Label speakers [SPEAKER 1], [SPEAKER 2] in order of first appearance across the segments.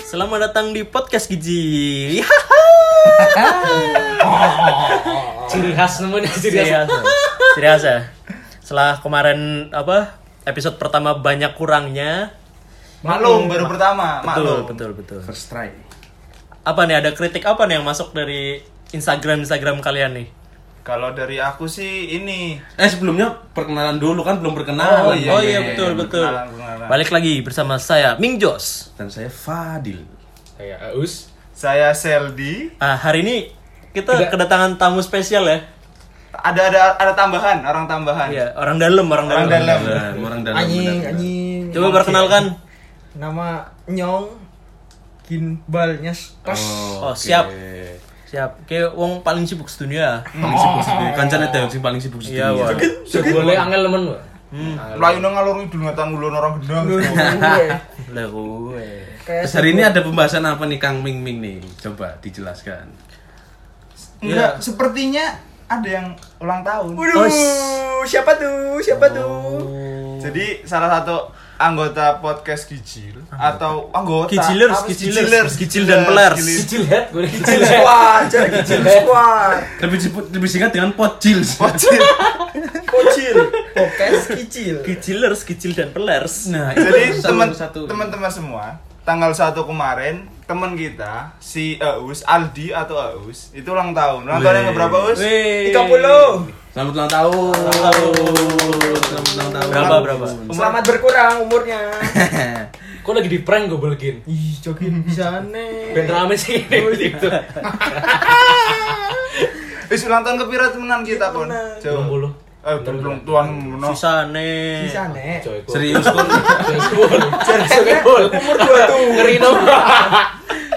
[SPEAKER 1] Selamat datang di podcast Gijil.
[SPEAKER 2] ciri khas namanya ciri khas
[SPEAKER 1] Seriasa. Seriasa. ya. Setelah kemarin apa episode pertama banyak kurangnya.
[SPEAKER 3] Maklum baru pertama.
[SPEAKER 1] Betul,
[SPEAKER 3] Maklum.
[SPEAKER 1] betul, betul.
[SPEAKER 4] First try.
[SPEAKER 1] Apa nih ada kritik apa nih yang masuk dari Instagram Instagram kalian nih?
[SPEAKER 3] Kalau dari aku sih ini
[SPEAKER 4] Eh sebelumnya perkenalan dulu kan belum
[SPEAKER 3] Oh,
[SPEAKER 4] perkenalan.
[SPEAKER 3] iya,
[SPEAKER 1] oh iya, betul, betul.
[SPEAKER 3] Perkenalan, perkenalan.
[SPEAKER 1] Balik lagi bersama saya Ming Jos.
[SPEAKER 4] Dan saya Fadil.
[SPEAKER 2] saya aus
[SPEAKER 3] saya Seldi.
[SPEAKER 1] Ah, hari ini kita
[SPEAKER 2] Tidak.
[SPEAKER 1] kedatangan tamu spesial ya.
[SPEAKER 3] Ada ada ada tambahan, orang tambahan.
[SPEAKER 1] Iya, orang dalam, orang dalam.
[SPEAKER 3] Orang dalam.
[SPEAKER 4] Dan orang dalam.
[SPEAKER 5] anjing
[SPEAKER 4] benar-benar.
[SPEAKER 5] anjing
[SPEAKER 1] Coba perkenalkan.
[SPEAKER 5] nama nyong ginbal nyes tos
[SPEAKER 1] Oh,
[SPEAKER 4] Oke.
[SPEAKER 1] siap. Siap. Kayak wong paling sibuk sedunia.
[SPEAKER 4] Paling sibuk sedunia. Kancane dewek sing paling sibuk
[SPEAKER 1] Iya,
[SPEAKER 4] sedunia.
[SPEAKER 1] wah.
[SPEAKER 2] Sudah boleh angel temen Pak.
[SPEAKER 3] Melayu nang ngalur ngidul ngatan ngulon orang gendang.
[SPEAKER 1] Lah gue.
[SPEAKER 5] kayak
[SPEAKER 4] Terus hari ini ada pembahasan apa nih Kang Ming Ming nih? Coba dijelaskan.
[SPEAKER 3] Enggak,
[SPEAKER 1] Iya.
[SPEAKER 3] sepertinya ada yang ulang tahun. Oh,
[SPEAKER 5] waduh siapa tuh siapa tuh
[SPEAKER 1] Oh.
[SPEAKER 3] Jadi salah satu anggota podcast Gijil atau anggota
[SPEAKER 1] Gijilers,
[SPEAKER 3] apa sih?
[SPEAKER 1] Gijilers. Gijil dan Pelers.
[SPEAKER 3] Gijilers.
[SPEAKER 2] kecil head gue
[SPEAKER 5] kecil
[SPEAKER 2] kecil head
[SPEAKER 5] squad jadi kecil squad
[SPEAKER 4] Lebih disebut lebih singkat dengan Podjils.
[SPEAKER 3] Gijil.
[SPEAKER 5] kecil podcast kecil
[SPEAKER 1] Gijilers, gijil dan pelers.
[SPEAKER 4] Nah, itu
[SPEAKER 3] Jadi
[SPEAKER 4] satu-
[SPEAKER 3] teman
[SPEAKER 4] satu.
[SPEAKER 3] teman-teman semua, tanggal 1 kemarin teman kita si Aus Aldi atau Aus itu ulang tahun. Ulang tahun yang berapa Aus?
[SPEAKER 1] Wih.
[SPEAKER 5] tiga puluh
[SPEAKER 4] Selamat ulang tahun. Selamat ulang tahun.
[SPEAKER 1] Berapa, berapa?
[SPEAKER 5] selamat berkurang umurnya
[SPEAKER 2] kok lagi di prank gue belgin
[SPEAKER 5] ih jokin bisa nih
[SPEAKER 2] ben rame sih ini gitu
[SPEAKER 3] Wis ulang tahun kepira temenan kita pun?
[SPEAKER 5] Temenan.
[SPEAKER 3] Coba.
[SPEAKER 2] 20.
[SPEAKER 3] Eh, belum belum tuan ngono.
[SPEAKER 1] Sisane.
[SPEAKER 5] bisa nih
[SPEAKER 2] Coy, kok.
[SPEAKER 4] Serius kon.
[SPEAKER 2] Serius bol serius bol
[SPEAKER 5] umur dua tuh
[SPEAKER 2] ngeri dong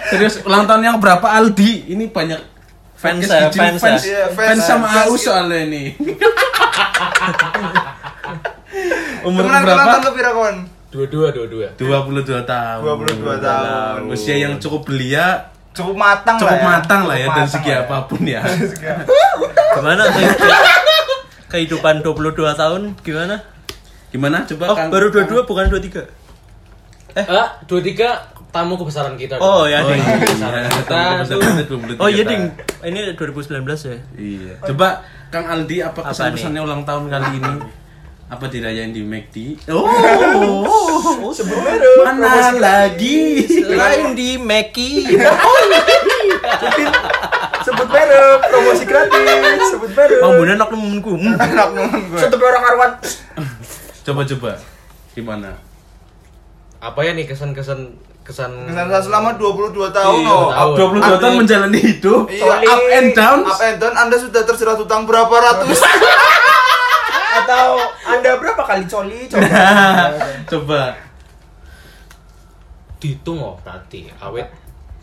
[SPEAKER 4] Serius ulang tahun yang berapa Aldi? Ini banyak
[SPEAKER 1] Fans
[SPEAKER 4] podcast
[SPEAKER 1] ya,
[SPEAKER 4] Gijil,
[SPEAKER 1] fans ya.
[SPEAKER 4] fans,
[SPEAKER 3] Iya, fans.
[SPEAKER 4] fans sama
[SPEAKER 3] Fans.
[SPEAKER 4] Aus soalnya ini.
[SPEAKER 3] Umur
[SPEAKER 4] Umur
[SPEAKER 3] temenan ulang
[SPEAKER 4] berapa?
[SPEAKER 3] tahun kepira kon?
[SPEAKER 2] dua dua dua dua
[SPEAKER 4] 22 tahun.
[SPEAKER 3] 22 tahun.
[SPEAKER 4] Usia yang cukup belia,
[SPEAKER 3] Cukup matang
[SPEAKER 4] cukup
[SPEAKER 3] lah. ya.
[SPEAKER 4] matang lah ya
[SPEAKER 3] Cukup
[SPEAKER 4] dan
[SPEAKER 3] matang
[SPEAKER 4] segi
[SPEAKER 3] lah ya.
[SPEAKER 4] apapun ya.
[SPEAKER 1] Gimana kehidupan, kehidupan 22 tahun gimana?
[SPEAKER 4] Gimana coba
[SPEAKER 1] Oh,
[SPEAKER 4] Kang?
[SPEAKER 1] baru 22 bukan 23.
[SPEAKER 2] eh dua tiga tamu kebesaran kita
[SPEAKER 1] Oh, ya
[SPEAKER 4] Oh
[SPEAKER 1] ding.
[SPEAKER 4] iya, iya. Ketemu besar banget, 23
[SPEAKER 1] Oh iya
[SPEAKER 4] tahun.
[SPEAKER 1] ding. Ini 2019 ya.
[SPEAKER 4] Iya. Coba Kang Aldi apa
[SPEAKER 1] Apa
[SPEAKER 4] kesan-kesannya ulang tahun kali
[SPEAKER 3] Ah.
[SPEAKER 4] ini? Apa dirayain di McD? Oh, mana lagi?
[SPEAKER 1] Oh. Lain di Meki.
[SPEAKER 5] sebut merek promosi gratis sebut merek
[SPEAKER 1] Mambunan aku nemenku. Hmm.
[SPEAKER 3] Anak nemen gue.
[SPEAKER 5] Satu orang arwan
[SPEAKER 4] Coba coba. Gimana?
[SPEAKER 2] apa ya nih kesan kesan kesan
[SPEAKER 3] Kesan saya selama 22 tahun
[SPEAKER 2] Iya,
[SPEAKER 3] loh.
[SPEAKER 2] tahu. Oh,
[SPEAKER 4] 22 tahun menjalani hidup.
[SPEAKER 3] Iya,
[SPEAKER 4] Up and down.
[SPEAKER 3] up and down Anda sudah terserah utang berapa ratus.
[SPEAKER 4] Iya.
[SPEAKER 5] atau anda berapa kali coli coba
[SPEAKER 4] Coba.
[SPEAKER 2] dihitung oh tadi awet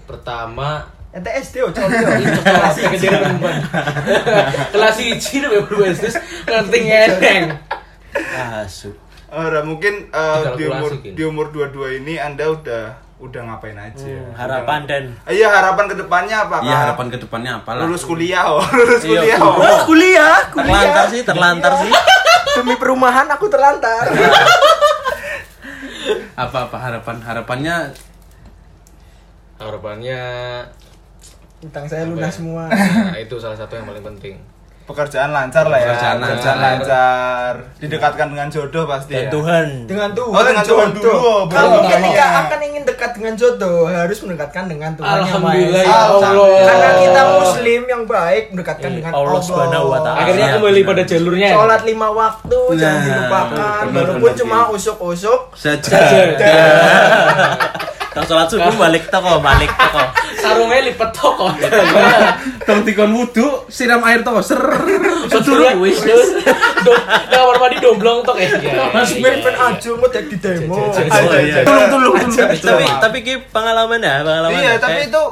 [SPEAKER 2] pertama
[SPEAKER 5] ente SD oh coli oh.
[SPEAKER 2] kelas kecil perempuan kelas hiji namanya berubah terus ngerti ngeneng
[SPEAKER 1] Asu.
[SPEAKER 3] Ora mungkin eh,
[SPEAKER 2] Dikalkulasi,
[SPEAKER 3] di umur
[SPEAKER 2] Kin.
[SPEAKER 3] di umur 22 ini Anda udah udah ngapain aja.
[SPEAKER 1] Hmm, harapan dan
[SPEAKER 3] Udah- Iya, harapan kedepannya apa?
[SPEAKER 4] Iya
[SPEAKER 3] Kak?
[SPEAKER 4] harapan kedepannya apalah?
[SPEAKER 3] lulus kuliah, oh. lulus kuliah. oh.
[SPEAKER 1] Oh, kuliah, Iya. terlantar sih, terlantar sih.
[SPEAKER 5] demi perumahan aku terlantar
[SPEAKER 4] apa-apa harapan harapannya
[SPEAKER 2] harapannya
[SPEAKER 5] utang saya lunas semua
[SPEAKER 2] nah, itu salah satu yang paling penting
[SPEAKER 3] Pekerjaan lancar lah ya.
[SPEAKER 4] Pekerjaan lancar.
[SPEAKER 3] lancar. Didekatkan dengan jodoh pasti
[SPEAKER 1] Dan
[SPEAKER 3] ya.
[SPEAKER 1] Tuhan.
[SPEAKER 5] dengan Tuhan
[SPEAKER 3] Oh, dengan Tuhan
[SPEAKER 5] jodoh.
[SPEAKER 3] dulu, oh, baru
[SPEAKER 5] kamu
[SPEAKER 3] utama.
[SPEAKER 5] ketika akan ingin dekat dengan jodoh harus mendekatkan dengan Tuhan yang Maha
[SPEAKER 2] alhamdulillah
[SPEAKER 5] Esa.
[SPEAKER 2] ya Allah
[SPEAKER 5] karena kita muslim yang baik mendekatkan dengan
[SPEAKER 1] Eh, Allah
[SPEAKER 5] Allah
[SPEAKER 1] Subhanahu wa Ta'ala.
[SPEAKER 2] akhirnya kembali pada jalurnya
[SPEAKER 5] sholat lima waktu jangan
[SPEAKER 4] Nah,
[SPEAKER 5] dilupakan
[SPEAKER 4] benar,
[SPEAKER 5] walaupun
[SPEAKER 4] benar,
[SPEAKER 5] cuma
[SPEAKER 4] Ki.
[SPEAKER 5] usuk-usuk
[SPEAKER 4] saja
[SPEAKER 1] Tang salat subuh balik toko, balik toko.
[SPEAKER 2] sarungnya lipet toko
[SPEAKER 4] tong tikon wudhu siram air toh ser
[SPEAKER 2] Sedulur wis terus dom nang kamar mandi domblong tok
[SPEAKER 4] Iya,
[SPEAKER 2] ya.
[SPEAKER 5] Mas
[SPEAKER 1] iya,
[SPEAKER 5] Mirvan Ajul mau jadi demo
[SPEAKER 3] Aja,
[SPEAKER 1] Oh, iya.
[SPEAKER 3] aja.
[SPEAKER 4] tulung tulung tulung
[SPEAKER 1] tapi tapi ki pengalaman ya, pengalaman.
[SPEAKER 3] Iya,
[SPEAKER 1] ya.
[SPEAKER 3] tapi
[SPEAKER 1] Kayak-
[SPEAKER 3] itu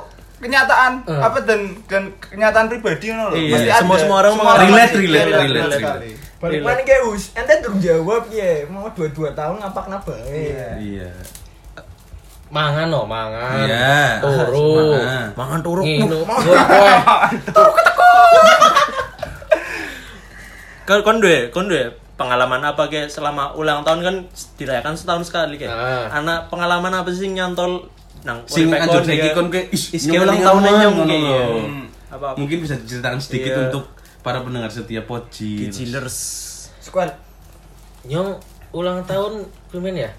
[SPEAKER 3] kenyataan apa dan dan kenyataan pribadi no loh.
[SPEAKER 1] Iya,
[SPEAKER 3] Pasti
[SPEAKER 1] semua-
[SPEAKER 3] ada.
[SPEAKER 1] semua orang
[SPEAKER 4] mengalami.
[SPEAKER 3] pasti- iya,
[SPEAKER 4] Relate, relate,
[SPEAKER 3] relate
[SPEAKER 4] relate,
[SPEAKER 3] sekali.
[SPEAKER 5] balik mana kayak us ente durung jawab ya mau dua-dua tahun ngapak nabah
[SPEAKER 4] iya
[SPEAKER 2] mangan no, mangan.
[SPEAKER 4] Iya. Ah,
[SPEAKER 2] Turu.
[SPEAKER 4] Mangan.
[SPEAKER 1] mangan turuk.
[SPEAKER 2] Nginu. Ngorok.
[SPEAKER 1] Kan kon duwe, kon duwe pengalaman apa kayak selama ulang tahun kan dirayakan setahun sekali kayak.
[SPEAKER 2] Ah.
[SPEAKER 1] Anak pengalaman apa sih yang nyantol nang
[SPEAKER 4] Sing
[SPEAKER 1] uripeko
[SPEAKER 4] anjur
[SPEAKER 1] dia-
[SPEAKER 4] saiki kon kowe
[SPEAKER 1] is kayak ya? ulang tahunnya nyong kayak iya. apa apa
[SPEAKER 4] Mungkin bisa diceritakan sedikit
[SPEAKER 1] Iya.
[SPEAKER 4] untuk para pendengar setia Poji.
[SPEAKER 1] Gijilers.
[SPEAKER 5] Squad.
[SPEAKER 2] Nyong ulang tahun pimen ya?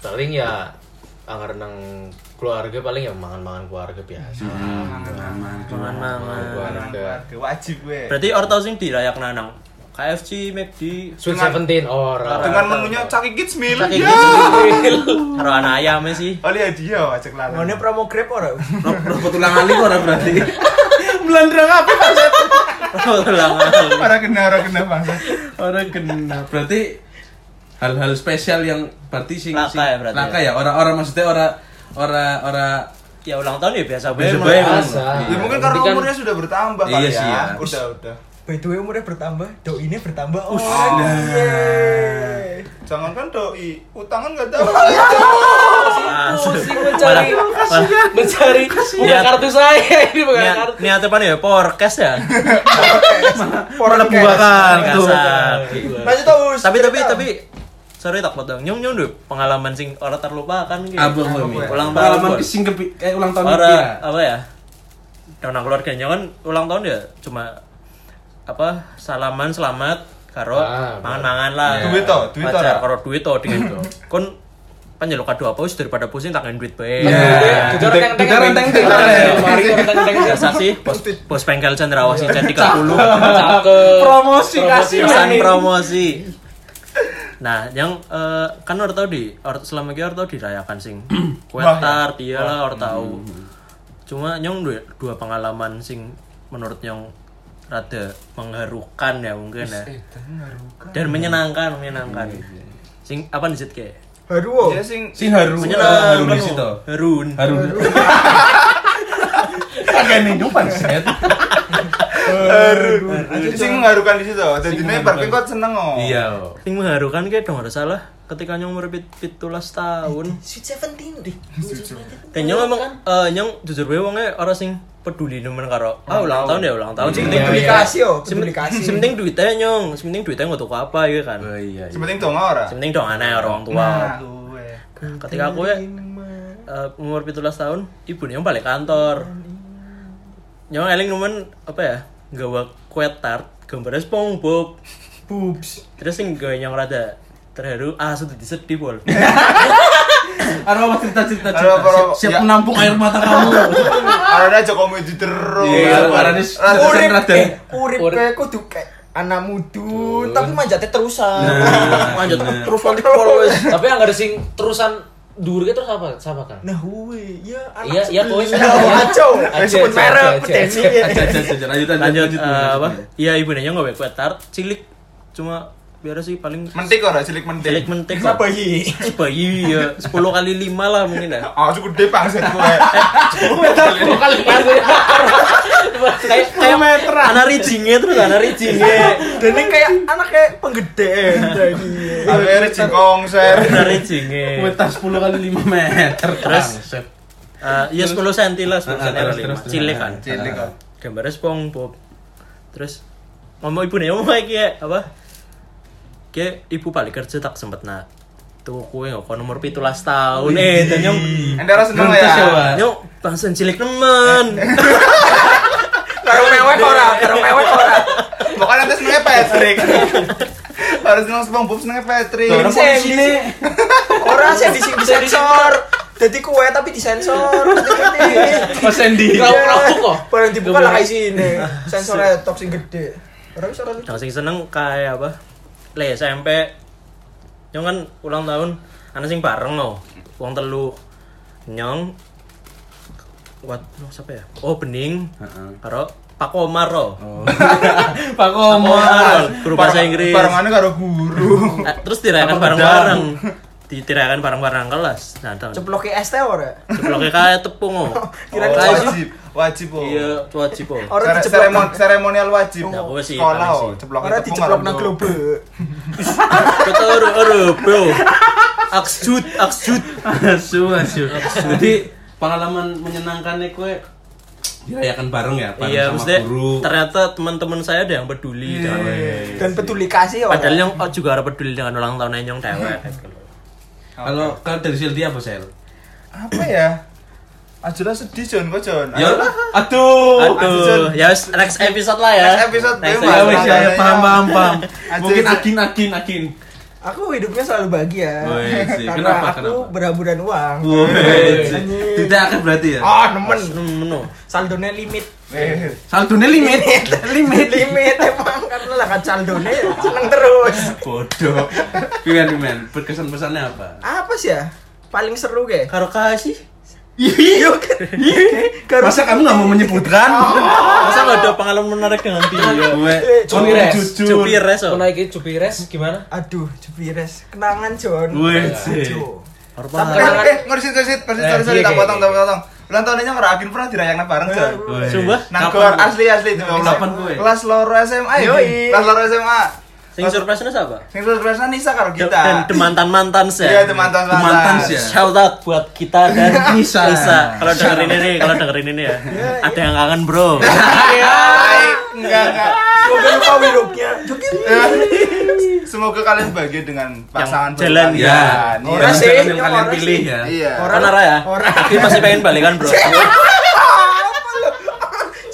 [SPEAKER 2] Paling ya anggar nang keluarga paling ya mangan-mangan keluarga biasa.
[SPEAKER 4] Hmm, aman.
[SPEAKER 1] Mangan mangan.
[SPEAKER 3] Orang keluarga wajib gue.
[SPEAKER 1] Berarti orto sing dirayak nanang. KFC, McD,
[SPEAKER 2] Sweet
[SPEAKER 3] Dengan-
[SPEAKER 2] Seventeen orang.
[SPEAKER 3] dengan menunya caki kids meal.
[SPEAKER 2] Caki
[SPEAKER 3] Ya.
[SPEAKER 2] gitu.
[SPEAKER 1] karo anak ayam sih.
[SPEAKER 3] Oh lihat dia wajak larang.
[SPEAKER 5] Mana promo Grab ora?
[SPEAKER 4] Robot tulang alik ora berarti.
[SPEAKER 3] Melandrang apa?
[SPEAKER 1] Ulang tahun.
[SPEAKER 3] Orang kena orang kena bangsa.
[SPEAKER 4] Ora kena. Berarti hal-hal spesial yang berarti sing
[SPEAKER 1] Laka
[SPEAKER 4] sing-
[SPEAKER 1] ya berarti
[SPEAKER 4] laka
[SPEAKER 1] ya?
[SPEAKER 4] ya. Orang-orang maksudnya ora ora ora
[SPEAKER 1] Ya ulang tahun ya biasa bae.
[SPEAKER 4] Biasa bae,
[SPEAKER 1] Mas.
[SPEAKER 4] Mas.
[SPEAKER 2] Biasa.
[SPEAKER 3] Ya mungkin
[SPEAKER 2] Nanti
[SPEAKER 3] karena
[SPEAKER 2] kan-
[SPEAKER 3] umurnya sudah bertambah
[SPEAKER 4] Iya
[SPEAKER 3] kali
[SPEAKER 4] sih, ya.
[SPEAKER 3] ya. Udah udah.
[SPEAKER 5] By the way umurnya bertambah, doi ini bertambah. Oh, iya.
[SPEAKER 3] Nah.
[SPEAKER 5] yeay.
[SPEAKER 3] Jangan kan doi utangan nggak tahu.
[SPEAKER 1] Ah,
[SPEAKER 2] Pusing mencari mencari bukan
[SPEAKER 1] Niat-
[SPEAKER 2] kartu saya ini bukan
[SPEAKER 1] Niat,
[SPEAKER 2] kartu.
[SPEAKER 1] niatnya apa nih ya? Podcast ya? kan.
[SPEAKER 5] Porno
[SPEAKER 4] buakan
[SPEAKER 1] Kasar.
[SPEAKER 5] Lanjut Aus.
[SPEAKER 1] Tapi tapi
[SPEAKER 5] Cerita.
[SPEAKER 1] tapi sorry tak potong. Nyong nyong duh pengalaman sing ora terlupakan gitu.
[SPEAKER 4] Abang kowe.
[SPEAKER 1] Ulang tahun.
[SPEAKER 4] pengalaman
[SPEAKER 1] Bos.
[SPEAKER 4] sing kepi eh ulang tahun
[SPEAKER 1] Ora
[SPEAKER 4] kepira?
[SPEAKER 1] apa ya? Nang keluarganya kan ulang tahun ya cuma apa salaman selamat karo
[SPEAKER 2] Ah,
[SPEAKER 1] mangan-mangan lah.
[SPEAKER 4] Iya.
[SPEAKER 3] Duit toh, duit toh,
[SPEAKER 1] Pacar
[SPEAKER 3] Ra.
[SPEAKER 1] karo duit toh dengan kon panjaluk kado apa wis daripada pusing tangan duit bae.
[SPEAKER 4] Iya.
[SPEAKER 2] Jujur
[SPEAKER 4] Dudek-
[SPEAKER 2] teng-teng.
[SPEAKER 4] duderan teng-teng.
[SPEAKER 2] Teng-teng. Mari, teng-teng.
[SPEAKER 1] Biasa sih bos bos pengkel cendrawasih jadi 30
[SPEAKER 2] Cakep.
[SPEAKER 4] Promosi, kasih
[SPEAKER 1] pesan
[SPEAKER 5] Iya.
[SPEAKER 4] main.
[SPEAKER 1] promosi nah yang eh, kan orang tau di or, selama ini orang tau dirayakan sing kue
[SPEAKER 3] Wah, ya.
[SPEAKER 1] tar dia lah orang tau cuma nyong dua, dua pengalaman sing menurut nyong rada mengharukan ya mungkin ya dan menyenangkan menyenangkan sing apa nih Zit, kayak
[SPEAKER 5] Haruo.
[SPEAKER 3] Dia sing
[SPEAKER 4] Sing haru. eh,
[SPEAKER 1] menyenangkan
[SPEAKER 4] Haru di
[SPEAKER 1] Mo.
[SPEAKER 4] situ.
[SPEAKER 1] harun
[SPEAKER 4] Haru. Kagak hidupan, set.
[SPEAKER 3] Eh, sing mengharukan di situ. Jadi nih parking kok seneng oh.
[SPEAKER 4] Iya.
[SPEAKER 1] sing mengharukan kayak dong ada salah ketika nyong merepit pitulas tahun
[SPEAKER 5] Sweet Seventeen deh.
[SPEAKER 1] Dan nyong emang eh, nyong jujur wae wonge ora sing peduli nemen karo ah ulang tahun ya ulang tahun sing penting
[SPEAKER 5] Iya,
[SPEAKER 1] duit
[SPEAKER 5] iya. Publikasi, yo,
[SPEAKER 1] sing penting-
[SPEAKER 5] publikasi.
[SPEAKER 1] sing penting duitnya nyong sing penting duitnya nggak tuku apa gitu kan
[SPEAKER 4] Oh iya.
[SPEAKER 3] Yang penting dong ora.
[SPEAKER 1] sing penting dong aneh orang tua
[SPEAKER 3] Nah, gue.
[SPEAKER 1] ketika aku ya eh, umur 17 tahun ibu nyong balik kantor nyong eling nemen apa ya gawa kue tart gambarnya SpongeBob
[SPEAKER 5] Boobs.
[SPEAKER 1] terus sing gawe nyong rada terharu ah sudah disedih bol
[SPEAKER 4] Ada apa cerita-cerita?
[SPEAKER 3] Ada
[SPEAKER 4] cerita?
[SPEAKER 3] apa,
[SPEAKER 4] Siap-
[SPEAKER 3] apa?
[SPEAKER 4] Siap
[SPEAKER 3] Ya.
[SPEAKER 4] menampung air mata kamu.
[SPEAKER 3] Arane aja komedi terus.
[SPEAKER 4] Iya, arane
[SPEAKER 3] Rada-
[SPEAKER 4] Urip,
[SPEAKER 5] Urip
[SPEAKER 4] eh,
[SPEAKER 5] urip
[SPEAKER 2] urip.
[SPEAKER 5] kayak kudu kayak anak muda, tapi manjatnya terusan.
[SPEAKER 4] Nah,
[SPEAKER 1] lanjut
[SPEAKER 4] bener.
[SPEAKER 1] terus nanti follow wes.
[SPEAKER 2] Tapi yang ada sing terusan durga terus apa? Sama kan?
[SPEAKER 5] Nah, woi, ya
[SPEAKER 2] Iya,
[SPEAKER 5] anak.
[SPEAKER 2] iya kowe.
[SPEAKER 5] Kacau.
[SPEAKER 2] Aja,
[SPEAKER 5] Sebut
[SPEAKER 2] aja,
[SPEAKER 5] merek, iya.
[SPEAKER 2] aja,
[SPEAKER 5] potensi.
[SPEAKER 4] Aja, aja, aja.
[SPEAKER 1] lanjut
[SPEAKER 4] Lanjut, lanjut.
[SPEAKER 1] eh, apa
[SPEAKER 4] lanjut.
[SPEAKER 1] iya ibu nanya nggak kue tart cilik cuma biar sih paling
[SPEAKER 3] Mentik ora cilik
[SPEAKER 1] cilik mentik
[SPEAKER 3] mentik.
[SPEAKER 1] lah.
[SPEAKER 5] Kenapa hi?
[SPEAKER 1] bayi ya sepuluh kali lima lah mungkin ya
[SPEAKER 3] Ah, aku eh. gede pangset gue.
[SPEAKER 2] Dua kali pas.
[SPEAKER 1] kayak kayak anak rijingnya terus anak rijingnya
[SPEAKER 5] Iya, Dan ini kayak anak kayak iya. penggedean tadi.
[SPEAKER 3] Tapi ere jingkong ser.
[SPEAKER 1] anak rijingnya
[SPEAKER 4] Kuota 10 kali 5 meter.
[SPEAKER 1] Terus?
[SPEAKER 4] Bangset.
[SPEAKER 1] Eh, iya sepuluh senti lah sepuluh
[SPEAKER 4] Ah, ah,
[SPEAKER 1] senti
[SPEAKER 4] terus,
[SPEAKER 1] kali lima
[SPEAKER 4] terus, terus.
[SPEAKER 1] cilik kan
[SPEAKER 3] Cilik kok.
[SPEAKER 1] gambarnya SpongeBob terus ngomong ibu nih ngomong kayak apa kayak ibu balik kerja tak sempet nak tuh kue nggak kau nomor pitulas tahun eh dan yang
[SPEAKER 3] Endara seneng lah
[SPEAKER 4] Gruntes ya,
[SPEAKER 3] ya.
[SPEAKER 4] Wak.
[SPEAKER 1] Nyok, bangsen cilik nemen.
[SPEAKER 4] Eh,
[SPEAKER 5] Karo mewek ora, karo mewek ora.
[SPEAKER 3] Bukan nanti senengnya Patrick. Harus seneng SpongeBob senengnya Patrick.
[SPEAKER 4] Orang
[SPEAKER 5] Bisa,
[SPEAKER 4] polisinya.
[SPEAKER 5] Ora sih di disensor. Jadi kue tapi disensor. Iya.
[SPEAKER 4] Mas Endi.
[SPEAKER 2] Rauk-rauk kok.
[SPEAKER 5] Barang dibuka lah kayak sini. Sensornya top sing gede. Orang bisa orang
[SPEAKER 1] Yang sing seneng kayak apa? Le SMP. Nyong kan ulang tahun, ana sing bareng loh. Wong telu. Nyong Wat, no, siapa ya? Oh, Bening.
[SPEAKER 4] Heeh.
[SPEAKER 1] Karo Pak Komar loh.
[SPEAKER 4] Pak
[SPEAKER 1] Komar, guru bahasa
[SPEAKER 3] Bareng-
[SPEAKER 1] Inggris.
[SPEAKER 3] Barengannya karo guru.
[SPEAKER 1] Eh, terus dirayakan bareng-bareng. Ditirayakan bareng-bareng kelas. Nah, ceplok
[SPEAKER 5] ceplok ke ST ora.
[SPEAKER 1] ceploknya kayak tepung oh.
[SPEAKER 5] Kira-
[SPEAKER 1] Kayak
[SPEAKER 3] Oh,
[SPEAKER 1] sih.
[SPEAKER 3] wajib, wajib oh.
[SPEAKER 1] Iya, wajib oh.
[SPEAKER 5] Orang
[SPEAKER 3] Sere-
[SPEAKER 5] diceplok.
[SPEAKER 3] seremon- seremonial wajib.
[SPEAKER 1] Nah, gue sih,
[SPEAKER 3] Sekolah
[SPEAKER 1] paling
[SPEAKER 3] oh,
[SPEAKER 1] sih.
[SPEAKER 3] ceplok
[SPEAKER 5] Orang diceplok nang globe.
[SPEAKER 1] Betul, aduh, aduh, bro. Aksjut, aksjut.
[SPEAKER 4] Asu, asu. Jadi pengalaman menyenangkannya kue dirayakan bareng ya, bareng
[SPEAKER 1] Iya,
[SPEAKER 4] sama
[SPEAKER 1] maksudnya
[SPEAKER 4] guru.
[SPEAKER 1] ternyata teman-teman saya ada yang peduli.
[SPEAKER 4] iya,
[SPEAKER 1] Jangan-
[SPEAKER 5] Dan peduli
[SPEAKER 3] Iya,
[SPEAKER 5] kasih ora.
[SPEAKER 1] Padahal yang oh, gitu. juga ora peduli dengan ulang tahun Nyong dewek.
[SPEAKER 4] Kalau kalau dari Sildi apa sel?
[SPEAKER 3] apa ya? Ajula sedih Jon kok Jon.
[SPEAKER 4] Ya,
[SPEAKER 3] Ayo lah.
[SPEAKER 4] aduh.
[SPEAKER 3] Aduh.
[SPEAKER 1] Aduh, ya wes, next episode lah ya.
[SPEAKER 3] Oh, Next episode,
[SPEAKER 1] Next
[SPEAKER 3] bebas.
[SPEAKER 4] Ya wes
[SPEAKER 1] episode.
[SPEAKER 4] ya, ya, paham paham paham.
[SPEAKER 3] Ajul.
[SPEAKER 4] Mungkin akin akin akin.
[SPEAKER 5] Aku hidupnya selalu bahagia.
[SPEAKER 4] Wih, sih.
[SPEAKER 5] Karena
[SPEAKER 4] Kenapa,
[SPEAKER 5] aku
[SPEAKER 4] kenapa?
[SPEAKER 5] berhamburan uang.
[SPEAKER 4] Wih, sih.
[SPEAKER 5] Anjing.
[SPEAKER 4] Tidak akan berarti ya.
[SPEAKER 5] Ah, nemen.
[SPEAKER 1] Menu, menu.
[SPEAKER 5] Saldonya limit.
[SPEAKER 3] Eh,
[SPEAKER 4] Saldonya limit, limit.
[SPEAKER 5] Limit emang karena lah kan saldonya seneng terus.
[SPEAKER 4] Bodoh. Pimen pimen. Berkesan pesannya apa?
[SPEAKER 5] Apa sih ya? Paling seru ge.
[SPEAKER 1] Karo kasih.
[SPEAKER 5] Iya kan? Karena
[SPEAKER 4] Masa kamu nggak mau menyebutkan?
[SPEAKER 3] Ah.
[SPEAKER 1] Masa nggak ada pengalaman menarik dengan dia?
[SPEAKER 4] Iya, Gue,
[SPEAKER 2] Cukup,
[SPEAKER 4] Gue
[SPEAKER 2] Res.
[SPEAKER 4] jujur.
[SPEAKER 1] Jupir reso.
[SPEAKER 2] Kau naikin cupi res gimana?
[SPEAKER 5] Aduh, jebires. Kenangan, Jon.
[SPEAKER 4] Wih, sih.
[SPEAKER 5] Aduh.
[SPEAKER 1] Karo
[SPEAKER 3] eh,
[SPEAKER 1] pengalaman.
[SPEAKER 3] eh, ngorisit ngorisit ngorisit
[SPEAKER 2] Eh,
[SPEAKER 3] sorry sorry
[SPEAKER 2] iya,
[SPEAKER 3] tak
[SPEAKER 2] iya,
[SPEAKER 3] potong
[SPEAKER 2] iya.
[SPEAKER 3] tak potong. Ulang tahunnya ngerakin pernah dirayakan bareng Jon.
[SPEAKER 4] Wih.
[SPEAKER 1] Sumpah?
[SPEAKER 3] Nanggor
[SPEAKER 4] Kapan?
[SPEAKER 3] asli asli itu
[SPEAKER 4] Kapan gue?
[SPEAKER 3] Kelas loro SMA ya.
[SPEAKER 5] Yoi.
[SPEAKER 3] Kelas loro SMA.
[SPEAKER 1] Sing surprise-nya siapa?
[SPEAKER 3] Sing surprise Nisa karo
[SPEAKER 1] De-
[SPEAKER 3] kita.
[SPEAKER 1] Dan mantan mantan sih.
[SPEAKER 3] Iya, itu mantan
[SPEAKER 4] Teman tans ya.
[SPEAKER 1] Shout out buat kita dan
[SPEAKER 4] Nisa.
[SPEAKER 1] Nisa. Kalau dengerin ini, kalau dengerin ini
[SPEAKER 3] Iya,
[SPEAKER 1] ya, ada yang kangen bro.
[SPEAKER 3] Baik, enggak enggak.
[SPEAKER 5] Semoga lupa hidupnya.
[SPEAKER 3] Semoga kalian bahagia dengan pasangan
[SPEAKER 1] jalan,
[SPEAKER 3] baru
[SPEAKER 4] ya.
[SPEAKER 3] kalian. Iya.
[SPEAKER 5] Orang sih,
[SPEAKER 4] Yang
[SPEAKER 5] yang
[SPEAKER 4] kalian
[SPEAKER 5] orang
[SPEAKER 4] pilih
[SPEAKER 5] sih.
[SPEAKER 4] ya.
[SPEAKER 3] Iya.
[SPEAKER 1] Orang Nara ya?
[SPEAKER 5] Orang.
[SPEAKER 1] Tapi masih pengen balikan bro.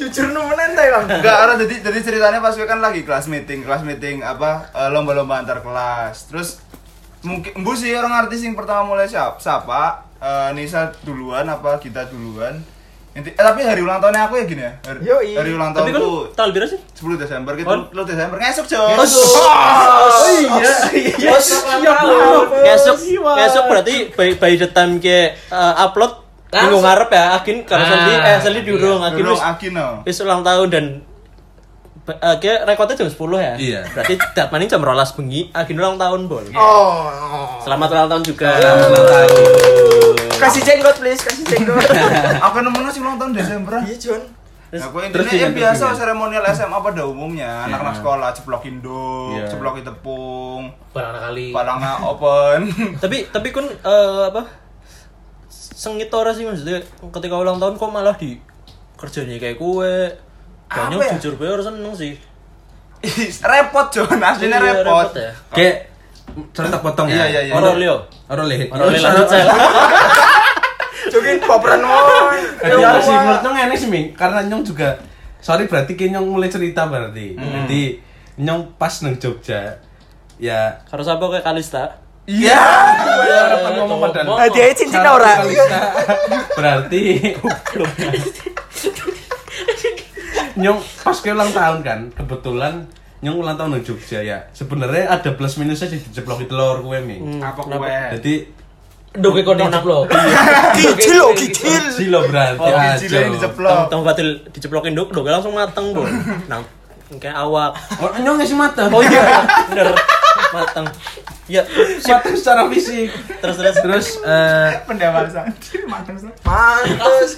[SPEAKER 5] Jujur nemenan ta, Bang.
[SPEAKER 3] Enggak, orang jadi jadi ceritanya pas gue kan lagi kelas meeting, kelas meeting apa eh, lomba-lomba antar kelas. Terus mungkin embu sih orang artis yang pertama mulai siapa? Siapa? Eh, Nisa duluan apa kita duluan? Inti, eh, tapi hari ulang tahunnya aku ya gini ya. Hari,
[SPEAKER 5] Yoi.
[SPEAKER 3] hari ulang
[SPEAKER 1] Tapi kan
[SPEAKER 3] tahunku
[SPEAKER 1] tahun biru sih?
[SPEAKER 3] 10 Desember gitu.
[SPEAKER 1] On.
[SPEAKER 3] 10 Desember ngesuk, Cok.
[SPEAKER 1] Oh,
[SPEAKER 5] iya. Iya, iya,
[SPEAKER 1] Ngesuk, ngesuk berarti by, by the time ke uh, upload
[SPEAKER 4] Nah.
[SPEAKER 2] Langsung.
[SPEAKER 1] minggu ngarep ya, Akin karena
[SPEAKER 2] Ah,
[SPEAKER 1] Sandi eh Sandi diurung Akin
[SPEAKER 3] Durung
[SPEAKER 1] wis
[SPEAKER 3] Akino.
[SPEAKER 1] wis ulang tahun dan eh ke rekodnya jam 10 ya.
[SPEAKER 4] Iya.
[SPEAKER 1] Berarti dat maning jam 12 bengi Akin ulang tahun, Bol.
[SPEAKER 5] Oh.
[SPEAKER 1] Selamat ulang tahun juga.
[SPEAKER 4] Selamat ulang tahun.
[SPEAKER 5] Kasih jenggot, please. Kasih jenggot.
[SPEAKER 3] Aku nemu sih ulang tahun Desember.
[SPEAKER 5] Iya, Jon.
[SPEAKER 1] Terus-
[SPEAKER 3] Aku
[SPEAKER 4] terus
[SPEAKER 3] intinya ya
[SPEAKER 4] gimana,
[SPEAKER 3] biasa
[SPEAKER 4] terus gimana?
[SPEAKER 3] seremonial SMA pada umumnya, anak-anak sekolah ceplokin dong,
[SPEAKER 4] Iya.
[SPEAKER 3] ceplokin tepung,
[SPEAKER 2] Barang
[SPEAKER 1] Iya.
[SPEAKER 2] kali.
[SPEAKER 3] palanga open.
[SPEAKER 1] tapi tapi kun eh, apa sengit ora sih maksudnya ketika ulang tahun kok malah di kerjanya kayak kue banyak
[SPEAKER 3] Apa ya?
[SPEAKER 1] jujur gue harus seneng sih
[SPEAKER 3] Ih, repot John,
[SPEAKER 1] Iya,
[SPEAKER 3] aslinya
[SPEAKER 1] repot
[SPEAKER 3] repot.
[SPEAKER 1] ya.
[SPEAKER 4] Kayak cerita potong ya.
[SPEAKER 3] Iya, iya, iya.
[SPEAKER 1] Orang Leo.
[SPEAKER 4] Orang leh.
[SPEAKER 1] Orang Leo lanjut saya
[SPEAKER 5] Jokin baperan oi.
[SPEAKER 4] Jadi harus Iya, sih menurut nyong enak sih Ming karena nyong juga sorry berarti ki nyong mulai cerita berarti. Jadi nyong pas neng Jogja ya
[SPEAKER 1] harus apa kayak Kalista
[SPEAKER 4] Iya. Harapan ngomong padahal.
[SPEAKER 2] ngomong.
[SPEAKER 5] Hadiah cincin
[SPEAKER 4] Salah
[SPEAKER 5] ora.
[SPEAKER 4] Kalista. Berarti nyong pas ke ulang tahun kan kebetulan nyong ulang tahun neng Jogja ya. Sebenarnya ada plus minusnya di jeblok telur kue
[SPEAKER 1] Hmm.
[SPEAKER 4] Ming.
[SPEAKER 3] Apa kue?
[SPEAKER 4] Jadi
[SPEAKER 2] Doge kau nang lo.
[SPEAKER 5] Kicil, oh, kicil.
[SPEAKER 4] silo berarti
[SPEAKER 3] Oh,
[SPEAKER 4] aja.
[SPEAKER 3] kecilnya yang
[SPEAKER 1] tong
[SPEAKER 3] diceplok.
[SPEAKER 1] tong batil diceplokin dok dok langsung mateng bol nang kayak awak
[SPEAKER 4] Oh, nyong ngasih mata.
[SPEAKER 1] oh iya bener mateng ya
[SPEAKER 4] mata secara fisik.
[SPEAKER 1] terus terus
[SPEAKER 4] Terus eh,
[SPEAKER 3] Pendewasaan.
[SPEAKER 5] Mantes, mantes.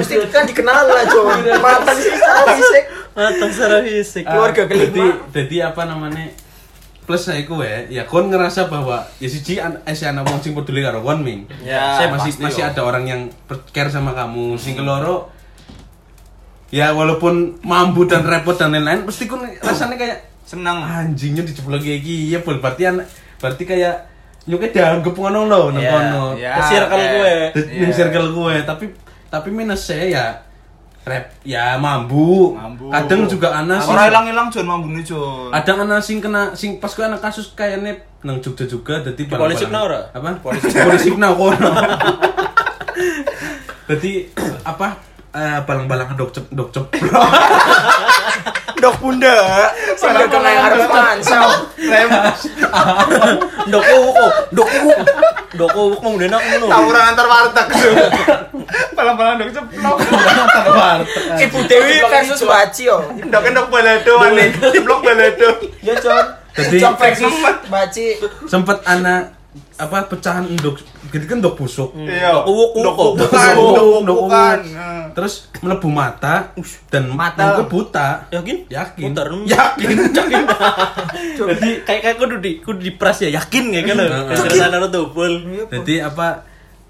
[SPEAKER 5] Mesti kan dikenal lah, Jon. Mantan sih, fisik.
[SPEAKER 1] mateng secara fisik
[SPEAKER 4] Ah,
[SPEAKER 5] Keluarga kelima.
[SPEAKER 4] jadi, jadi apa namanya plus saya kue ya kon ngerasa bahwa ya siji an eh, si anak wong sing peduli karo kon ming
[SPEAKER 1] Ya,
[SPEAKER 4] Saya masih
[SPEAKER 1] pasti,
[SPEAKER 5] oh.
[SPEAKER 4] masih
[SPEAKER 1] yo.
[SPEAKER 4] ada orang yang per- care sama kamu sing keloro ya walaupun mambu dan repot dan lain-lain pasti kon rasanya kayak "Ah,
[SPEAKER 3] Seneng.
[SPEAKER 4] anjingnya dijeblok kayak gini ya bol berarti anak berarti kayak nyuke dianggap ngono lho nang
[SPEAKER 1] Ya,
[SPEAKER 4] kono
[SPEAKER 3] ya,
[SPEAKER 1] ke circle
[SPEAKER 3] oke. Iya.
[SPEAKER 1] gue
[SPEAKER 4] Di- di circle gue tapi tapi minus saya ya rap ya mambu,
[SPEAKER 3] Mambu.
[SPEAKER 4] kadang juga anak sih-
[SPEAKER 3] Orang hilang-hilang John mambune John.
[SPEAKER 4] ada anak sing kena sing pas gue anak kasus kayaknya nang Jogja juga jadi
[SPEAKER 1] polisi kena ora?
[SPEAKER 4] apa polisi kena kono jadi apa eh balang-balang dok cep dok cep
[SPEAKER 5] Dok bunda. Sambil kena yang harus mansel.
[SPEAKER 1] dok uwuk oh, dok uwuk dok uwuk mau denak ngono.
[SPEAKER 3] Tawuran antar warteg. Palang-palang dok ceplok.
[SPEAKER 5] Ibu Dewi versus Baci, oh.
[SPEAKER 3] Endok-endok baledo aneh. Ceplok baledo.
[SPEAKER 5] Ya, Jon.
[SPEAKER 4] Jadi-
[SPEAKER 5] Jon versus Baci.
[SPEAKER 4] sempet anak apa pecahan endok gitu kan endok busuk
[SPEAKER 3] Iya.
[SPEAKER 1] Ndok uwuk,
[SPEAKER 3] Ndok
[SPEAKER 1] uwuk.
[SPEAKER 3] uwukan,
[SPEAKER 4] Ndok
[SPEAKER 3] ndok
[SPEAKER 4] uwuk, ndok
[SPEAKER 3] uwukan.
[SPEAKER 4] uwuk.
[SPEAKER 3] Eh.
[SPEAKER 4] terus melebu mata dan
[SPEAKER 5] Mata.
[SPEAKER 4] mata buta
[SPEAKER 1] Yakin?
[SPEAKER 4] yakin
[SPEAKER 1] Putar.
[SPEAKER 4] yakin yakin
[SPEAKER 1] Jadi kayak kayak kudu di kudu dipres ya yakin kayak gitu.
[SPEAKER 4] Heeh.
[SPEAKER 1] Terus sana tuh full.
[SPEAKER 4] jadi apa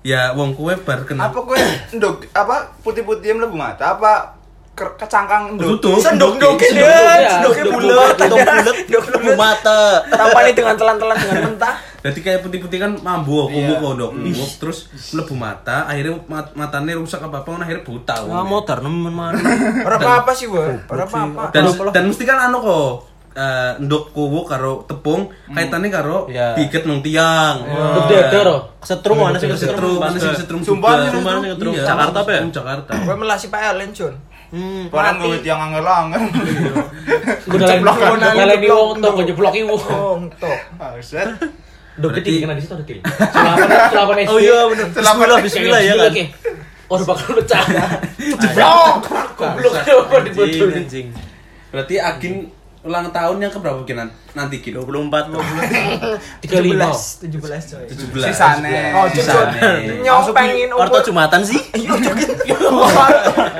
[SPEAKER 4] ya wong kue bar kena
[SPEAKER 3] Apa kue? Endok apa putih-putih mlebu mata apa ke- kecangkang endok?
[SPEAKER 4] Tutup.
[SPEAKER 5] Sendok-dokin,
[SPEAKER 2] Iya.
[SPEAKER 1] Sendok-dokin,
[SPEAKER 5] ya. Sendoknya bulat.
[SPEAKER 1] Tong bulat,
[SPEAKER 5] Ah, Dok bulat.
[SPEAKER 1] mata.
[SPEAKER 5] Tampani dengan telan-telan dengan mentah.
[SPEAKER 4] Jadi kayak putih-putih kan mambu,
[SPEAKER 3] Iya.
[SPEAKER 4] kubu kodok, kubu, terus melebu mata, akhirnya mat- matanya rusak apa apa, akhirnya buta.
[SPEAKER 1] Wah,
[SPEAKER 4] wong.
[SPEAKER 1] motor nemen mari.
[SPEAKER 5] Ora apa-apa sih, Bro. Ora apa-apa.
[SPEAKER 4] dan dan mesti kan anu kok eh, ndok kowo karo tepung kaitannya karo
[SPEAKER 1] Iya.
[SPEAKER 4] piket nung tiang.
[SPEAKER 2] Gede ada roh.
[SPEAKER 1] Setrum ana sing
[SPEAKER 4] Setrum,
[SPEAKER 1] Oh, iya, setrum.
[SPEAKER 4] mana sih setrum
[SPEAKER 3] Sumpah,
[SPEAKER 4] juga.
[SPEAKER 3] sih,
[SPEAKER 1] Setrum, mana sing setrum?
[SPEAKER 4] Iya,
[SPEAKER 1] Jakarta apa ya?
[SPEAKER 4] setrum Jakarta.
[SPEAKER 5] Kowe melasi Pak Ellen, Jon.
[SPEAKER 1] Hmm.
[SPEAKER 3] Barang gue tiang angel-angel.
[SPEAKER 2] Jeblok
[SPEAKER 5] Jeblok,
[SPEAKER 2] kan.
[SPEAKER 5] jeblok,
[SPEAKER 2] Ngalahin wong
[SPEAKER 5] jeblok.
[SPEAKER 2] tok jeblok iwo.
[SPEAKER 5] Wong Oh, tok.
[SPEAKER 3] Buset.
[SPEAKER 2] Dok
[SPEAKER 4] Berarti-
[SPEAKER 2] kena di situ ada kiri. Selapan selapan SD.
[SPEAKER 1] Oh iya bener.
[SPEAKER 3] Selamat.
[SPEAKER 1] Bismillah bismillah ya kan.
[SPEAKER 2] Oke. Orang Oh, bakal pecah.
[SPEAKER 5] Jeblok.
[SPEAKER 2] Goblok apa
[SPEAKER 1] Anjing,
[SPEAKER 2] dibotolin.
[SPEAKER 1] anjing.
[SPEAKER 4] Berarti Agin ulang tahun yang keberapa kinan nanti Gin?
[SPEAKER 1] 24
[SPEAKER 2] Tiga lima.
[SPEAKER 5] 17, 17 coy.
[SPEAKER 4] 17.
[SPEAKER 3] Sisane.
[SPEAKER 5] Oh,
[SPEAKER 4] Jon,
[SPEAKER 5] Jon.
[SPEAKER 4] Jon.
[SPEAKER 5] Nyong pengin
[SPEAKER 1] Orto Jumatan sih?
[SPEAKER 5] Iya, Jon.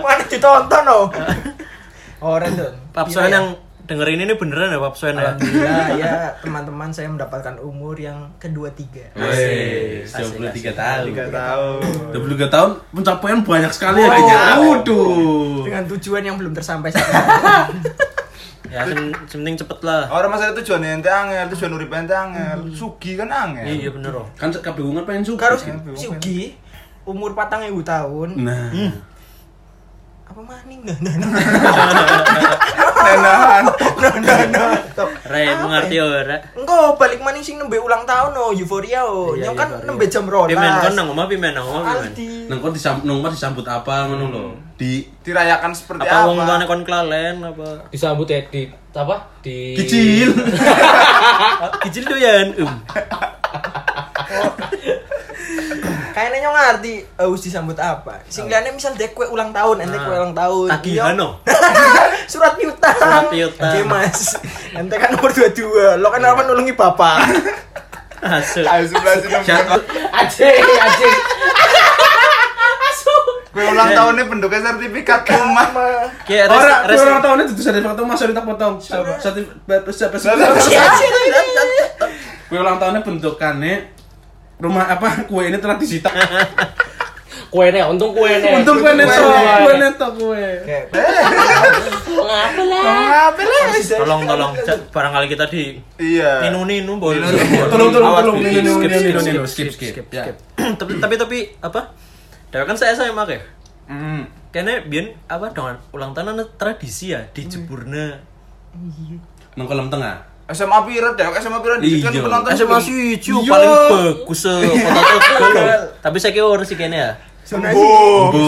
[SPEAKER 5] Mana ditonton, oh. Iya, Ora, Jon.
[SPEAKER 1] Papsoen yang dengerin ini beneran ya Papsoen ya?
[SPEAKER 5] Alhamdulillah ya teman-teman saya mendapatkan umur yang kedua tiga.
[SPEAKER 4] Wih,
[SPEAKER 1] Asik,
[SPEAKER 4] 23 tahun.
[SPEAKER 3] Gak tahu.
[SPEAKER 4] 23 tahun pencapaian banyak sekali ya Gin. ya. Waduh.
[SPEAKER 5] Dengan tujuan yang belum tersampai sekarang.
[SPEAKER 1] Ya sing sing penting cepet lah.
[SPEAKER 3] Orang masalah tujuannya ente angel, tujuan urip ente angel. Sugi kan angel.
[SPEAKER 1] Hmm. Iya bener oh.
[SPEAKER 4] Kan kabungan pengen suka.
[SPEAKER 5] Karo si Ugi umur patang ewu tahun.
[SPEAKER 4] Nah.
[SPEAKER 5] Apa maning nah, nah, nah.
[SPEAKER 3] Enahan.
[SPEAKER 1] Re, aku ngerti ya, ora.
[SPEAKER 5] Engko balik maning sing nembe ulang tahun oh euforia oh. Nyong kan nembe jam rolas.
[SPEAKER 1] Pimen kon nang omah pimen nang omah pimen.
[SPEAKER 5] Aldi.
[SPEAKER 4] Nang kon disambut nang omah disambut apa ngono lho. Di
[SPEAKER 3] Dirayakan seperti
[SPEAKER 1] Apa wong tuane
[SPEAKER 3] apa?
[SPEAKER 1] kon kelalen apa?
[SPEAKER 2] Disambut ya di apa? Di
[SPEAKER 4] kecil.
[SPEAKER 1] Ah, Kicil doyan. Um.
[SPEAKER 5] Kayaknya nyong ngerti harus disambut apa. Sing liyane misal dek kue ulang tahun, ente kue ulang tahun.
[SPEAKER 1] Tagihan oh.
[SPEAKER 5] Nyong- Surat piutang.
[SPEAKER 1] Surat piutang.
[SPEAKER 5] Oke, Mas. Ente kan nomor 22. Lo kan apa nulungi bapak.
[SPEAKER 1] Asuk.
[SPEAKER 3] Ayo sebelah sini.
[SPEAKER 2] Ajeng, ajeng.
[SPEAKER 3] Gue ulang tahunnya penduknya sertifikat rumah.
[SPEAKER 1] Ki res
[SPEAKER 4] Ora,
[SPEAKER 1] res.
[SPEAKER 4] ora tahunnya itu sertifikat potong, masuk tak potong. Sertifikat sertifikat.
[SPEAKER 5] Iya.
[SPEAKER 4] Kue ulang tahunnya bentukannya rumah apa kue ini telah disita.
[SPEAKER 2] Kuene, untung kuene.
[SPEAKER 4] Untung kue neto,
[SPEAKER 2] Kuene.
[SPEAKER 4] kue neto kue.
[SPEAKER 2] Ngapa lah?
[SPEAKER 3] Ngapa
[SPEAKER 1] eh?
[SPEAKER 3] lah?
[SPEAKER 1] Tolong tolong Cak, barangkali kita di
[SPEAKER 3] Iya.
[SPEAKER 1] ninu-ninu boleh.
[SPEAKER 4] Tolong tolong tolong.
[SPEAKER 1] Awas,
[SPEAKER 4] Nino,
[SPEAKER 1] skip,
[SPEAKER 4] Nino,
[SPEAKER 1] skip,
[SPEAKER 4] Nino,
[SPEAKER 1] skip,
[SPEAKER 4] Nino,
[SPEAKER 1] skip,
[SPEAKER 4] skip skip. Ya.
[SPEAKER 1] tapi tapi tapi apa? Dewa kan saya saya make.
[SPEAKER 3] Hmm.
[SPEAKER 1] Kayaknya biyen apa dong ulang tahun ana tradisi ya di Jeburna.
[SPEAKER 4] Nang kolam tengah.
[SPEAKER 3] SMA Pirat ya, SMA Pirat di kan
[SPEAKER 4] Iya.
[SPEAKER 3] penonton Iya.
[SPEAKER 1] SMA Suju paling Eh, Iya. bagus se kota Tegal loh. Tapi saya kira orang sih kayaknya ya.
[SPEAKER 3] Hmm. sembuh.
[SPEAKER 4] Bu.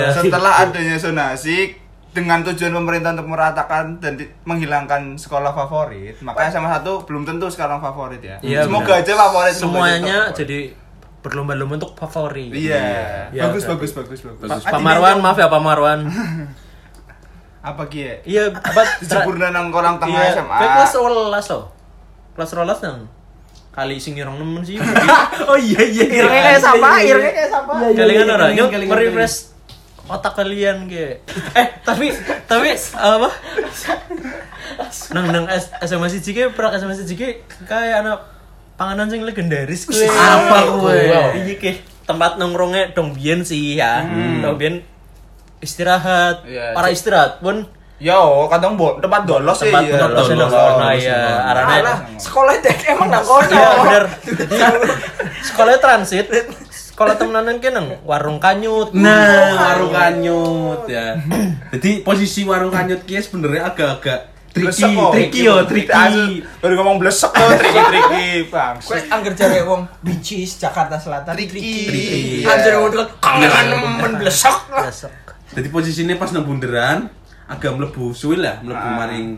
[SPEAKER 1] Iya.
[SPEAKER 3] Setelah adanya zonasi dengan tujuan pemerintah untuk meratakan dan di- menghilangkan sekolah favorit, maka SMA 1 belum tentu sekarang favorit ya.
[SPEAKER 1] Iya,
[SPEAKER 3] semoga
[SPEAKER 1] benar.
[SPEAKER 3] aja favorit semoga aja
[SPEAKER 1] Semuanya
[SPEAKER 3] favorit.
[SPEAKER 1] jadi berlomba-lomba untuk favorit.
[SPEAKER 3] Iya.
[SPEAKER 1] Iya,
[SPEAKER 3] bagus,
[SPEAKER 1] iya.
[SPEAKER 3] bagus, bagus, bagus,
[SPEAKER 1] Pa-
[SPEAKER 3] Ah,
[SPEAKER 1] Pak Marwan, maaf ya Pak Marwan.
[SPEAKER 3] Apa kie?
[SPEAKER 1] Iya, apa tra-
[SPEAKER 3] Sempurna nang kolam tengah
[SPEAKER 1] Iya,
[SPEAKER 3] SMA.
[SPEAKER 1] kayak kelas rolas loh. Kelas rolas nang kali sing irong nemen sih.
[SPEAKER 4] Oh iya iya.
[SPEAKER 5] Irengnya kayak sampah, irengnya kayak sampah.
[SPEAKER 1] Kalian ora nyok
[SPEAKER 4] kelingan,
[SPEAKER 1] merefresh otak kalian ge. Eh, tapi tapi apa? Nang nang S- SMA siji ge prak SMA siji ge kayak anak panganan sing legendaris kuwi.
[SPEAKER 4] Apa kue?
[SPEAKER 1] Iya ke tempat nongkrongnya dong biyen sih ya.
[SPEAKER 4] Hmm.
[SPEAKER 1] Dong biyen istirahat,
[SPEAKER 3] Iya,
[SPEAKER 1] para
[SPEAKER 3] cek.
[SPEAKER 1] istirahat pun
[SPEAKER 3] Yo, kadang bo tempat dolos sih.
[SPEAKER 1] tempat
[SPEAKER 3] iya.
[SPEAKER 1] dolos dolos
[SPEAKER 4] dolos,
[SPEAKER 1] kono
[SPEAKER 4] dolos,
[SPEAKER 1] ya.
[SPEAKER 4] dolos.
[SPEAKER 1] Arane
[SPEAKER 5] Alah, sekolah dek emang nang
[SPEAKER 4] Oh,
[SPEAKER 5] kono.
[SPEAKER 1] Iya bener. Jadi, Sekolahnya transit. Sekolah temenan kan nang warung kanyut.
[SPEAKER 4] Nah, warung kanyut ya. Jadi posisi warung kanyut kia sebenarnya agak-agak tricky,
[SPEAKER 3] Blesek kok.
[SPEAKER 4] tricky yo, tricky.
[SPEAKER 3] Baru ngomong blesek kok, tricky, tricky, bang.
[SPEAKER 5] Kue angger jare wong Bicis Jakarta Selatan
[SPEAKER 3] Tricky. Iya.
[SPEAKER 5] Angger wong kan kangen men blesek.
[SPEAKER 1] Besok.
[SPEAKER 4] Jadi posisinya pas nang bunderan agak mlebu suwi lah, mlebu
[SPEAKER 3] Ah.
[SPEAKER 4] maring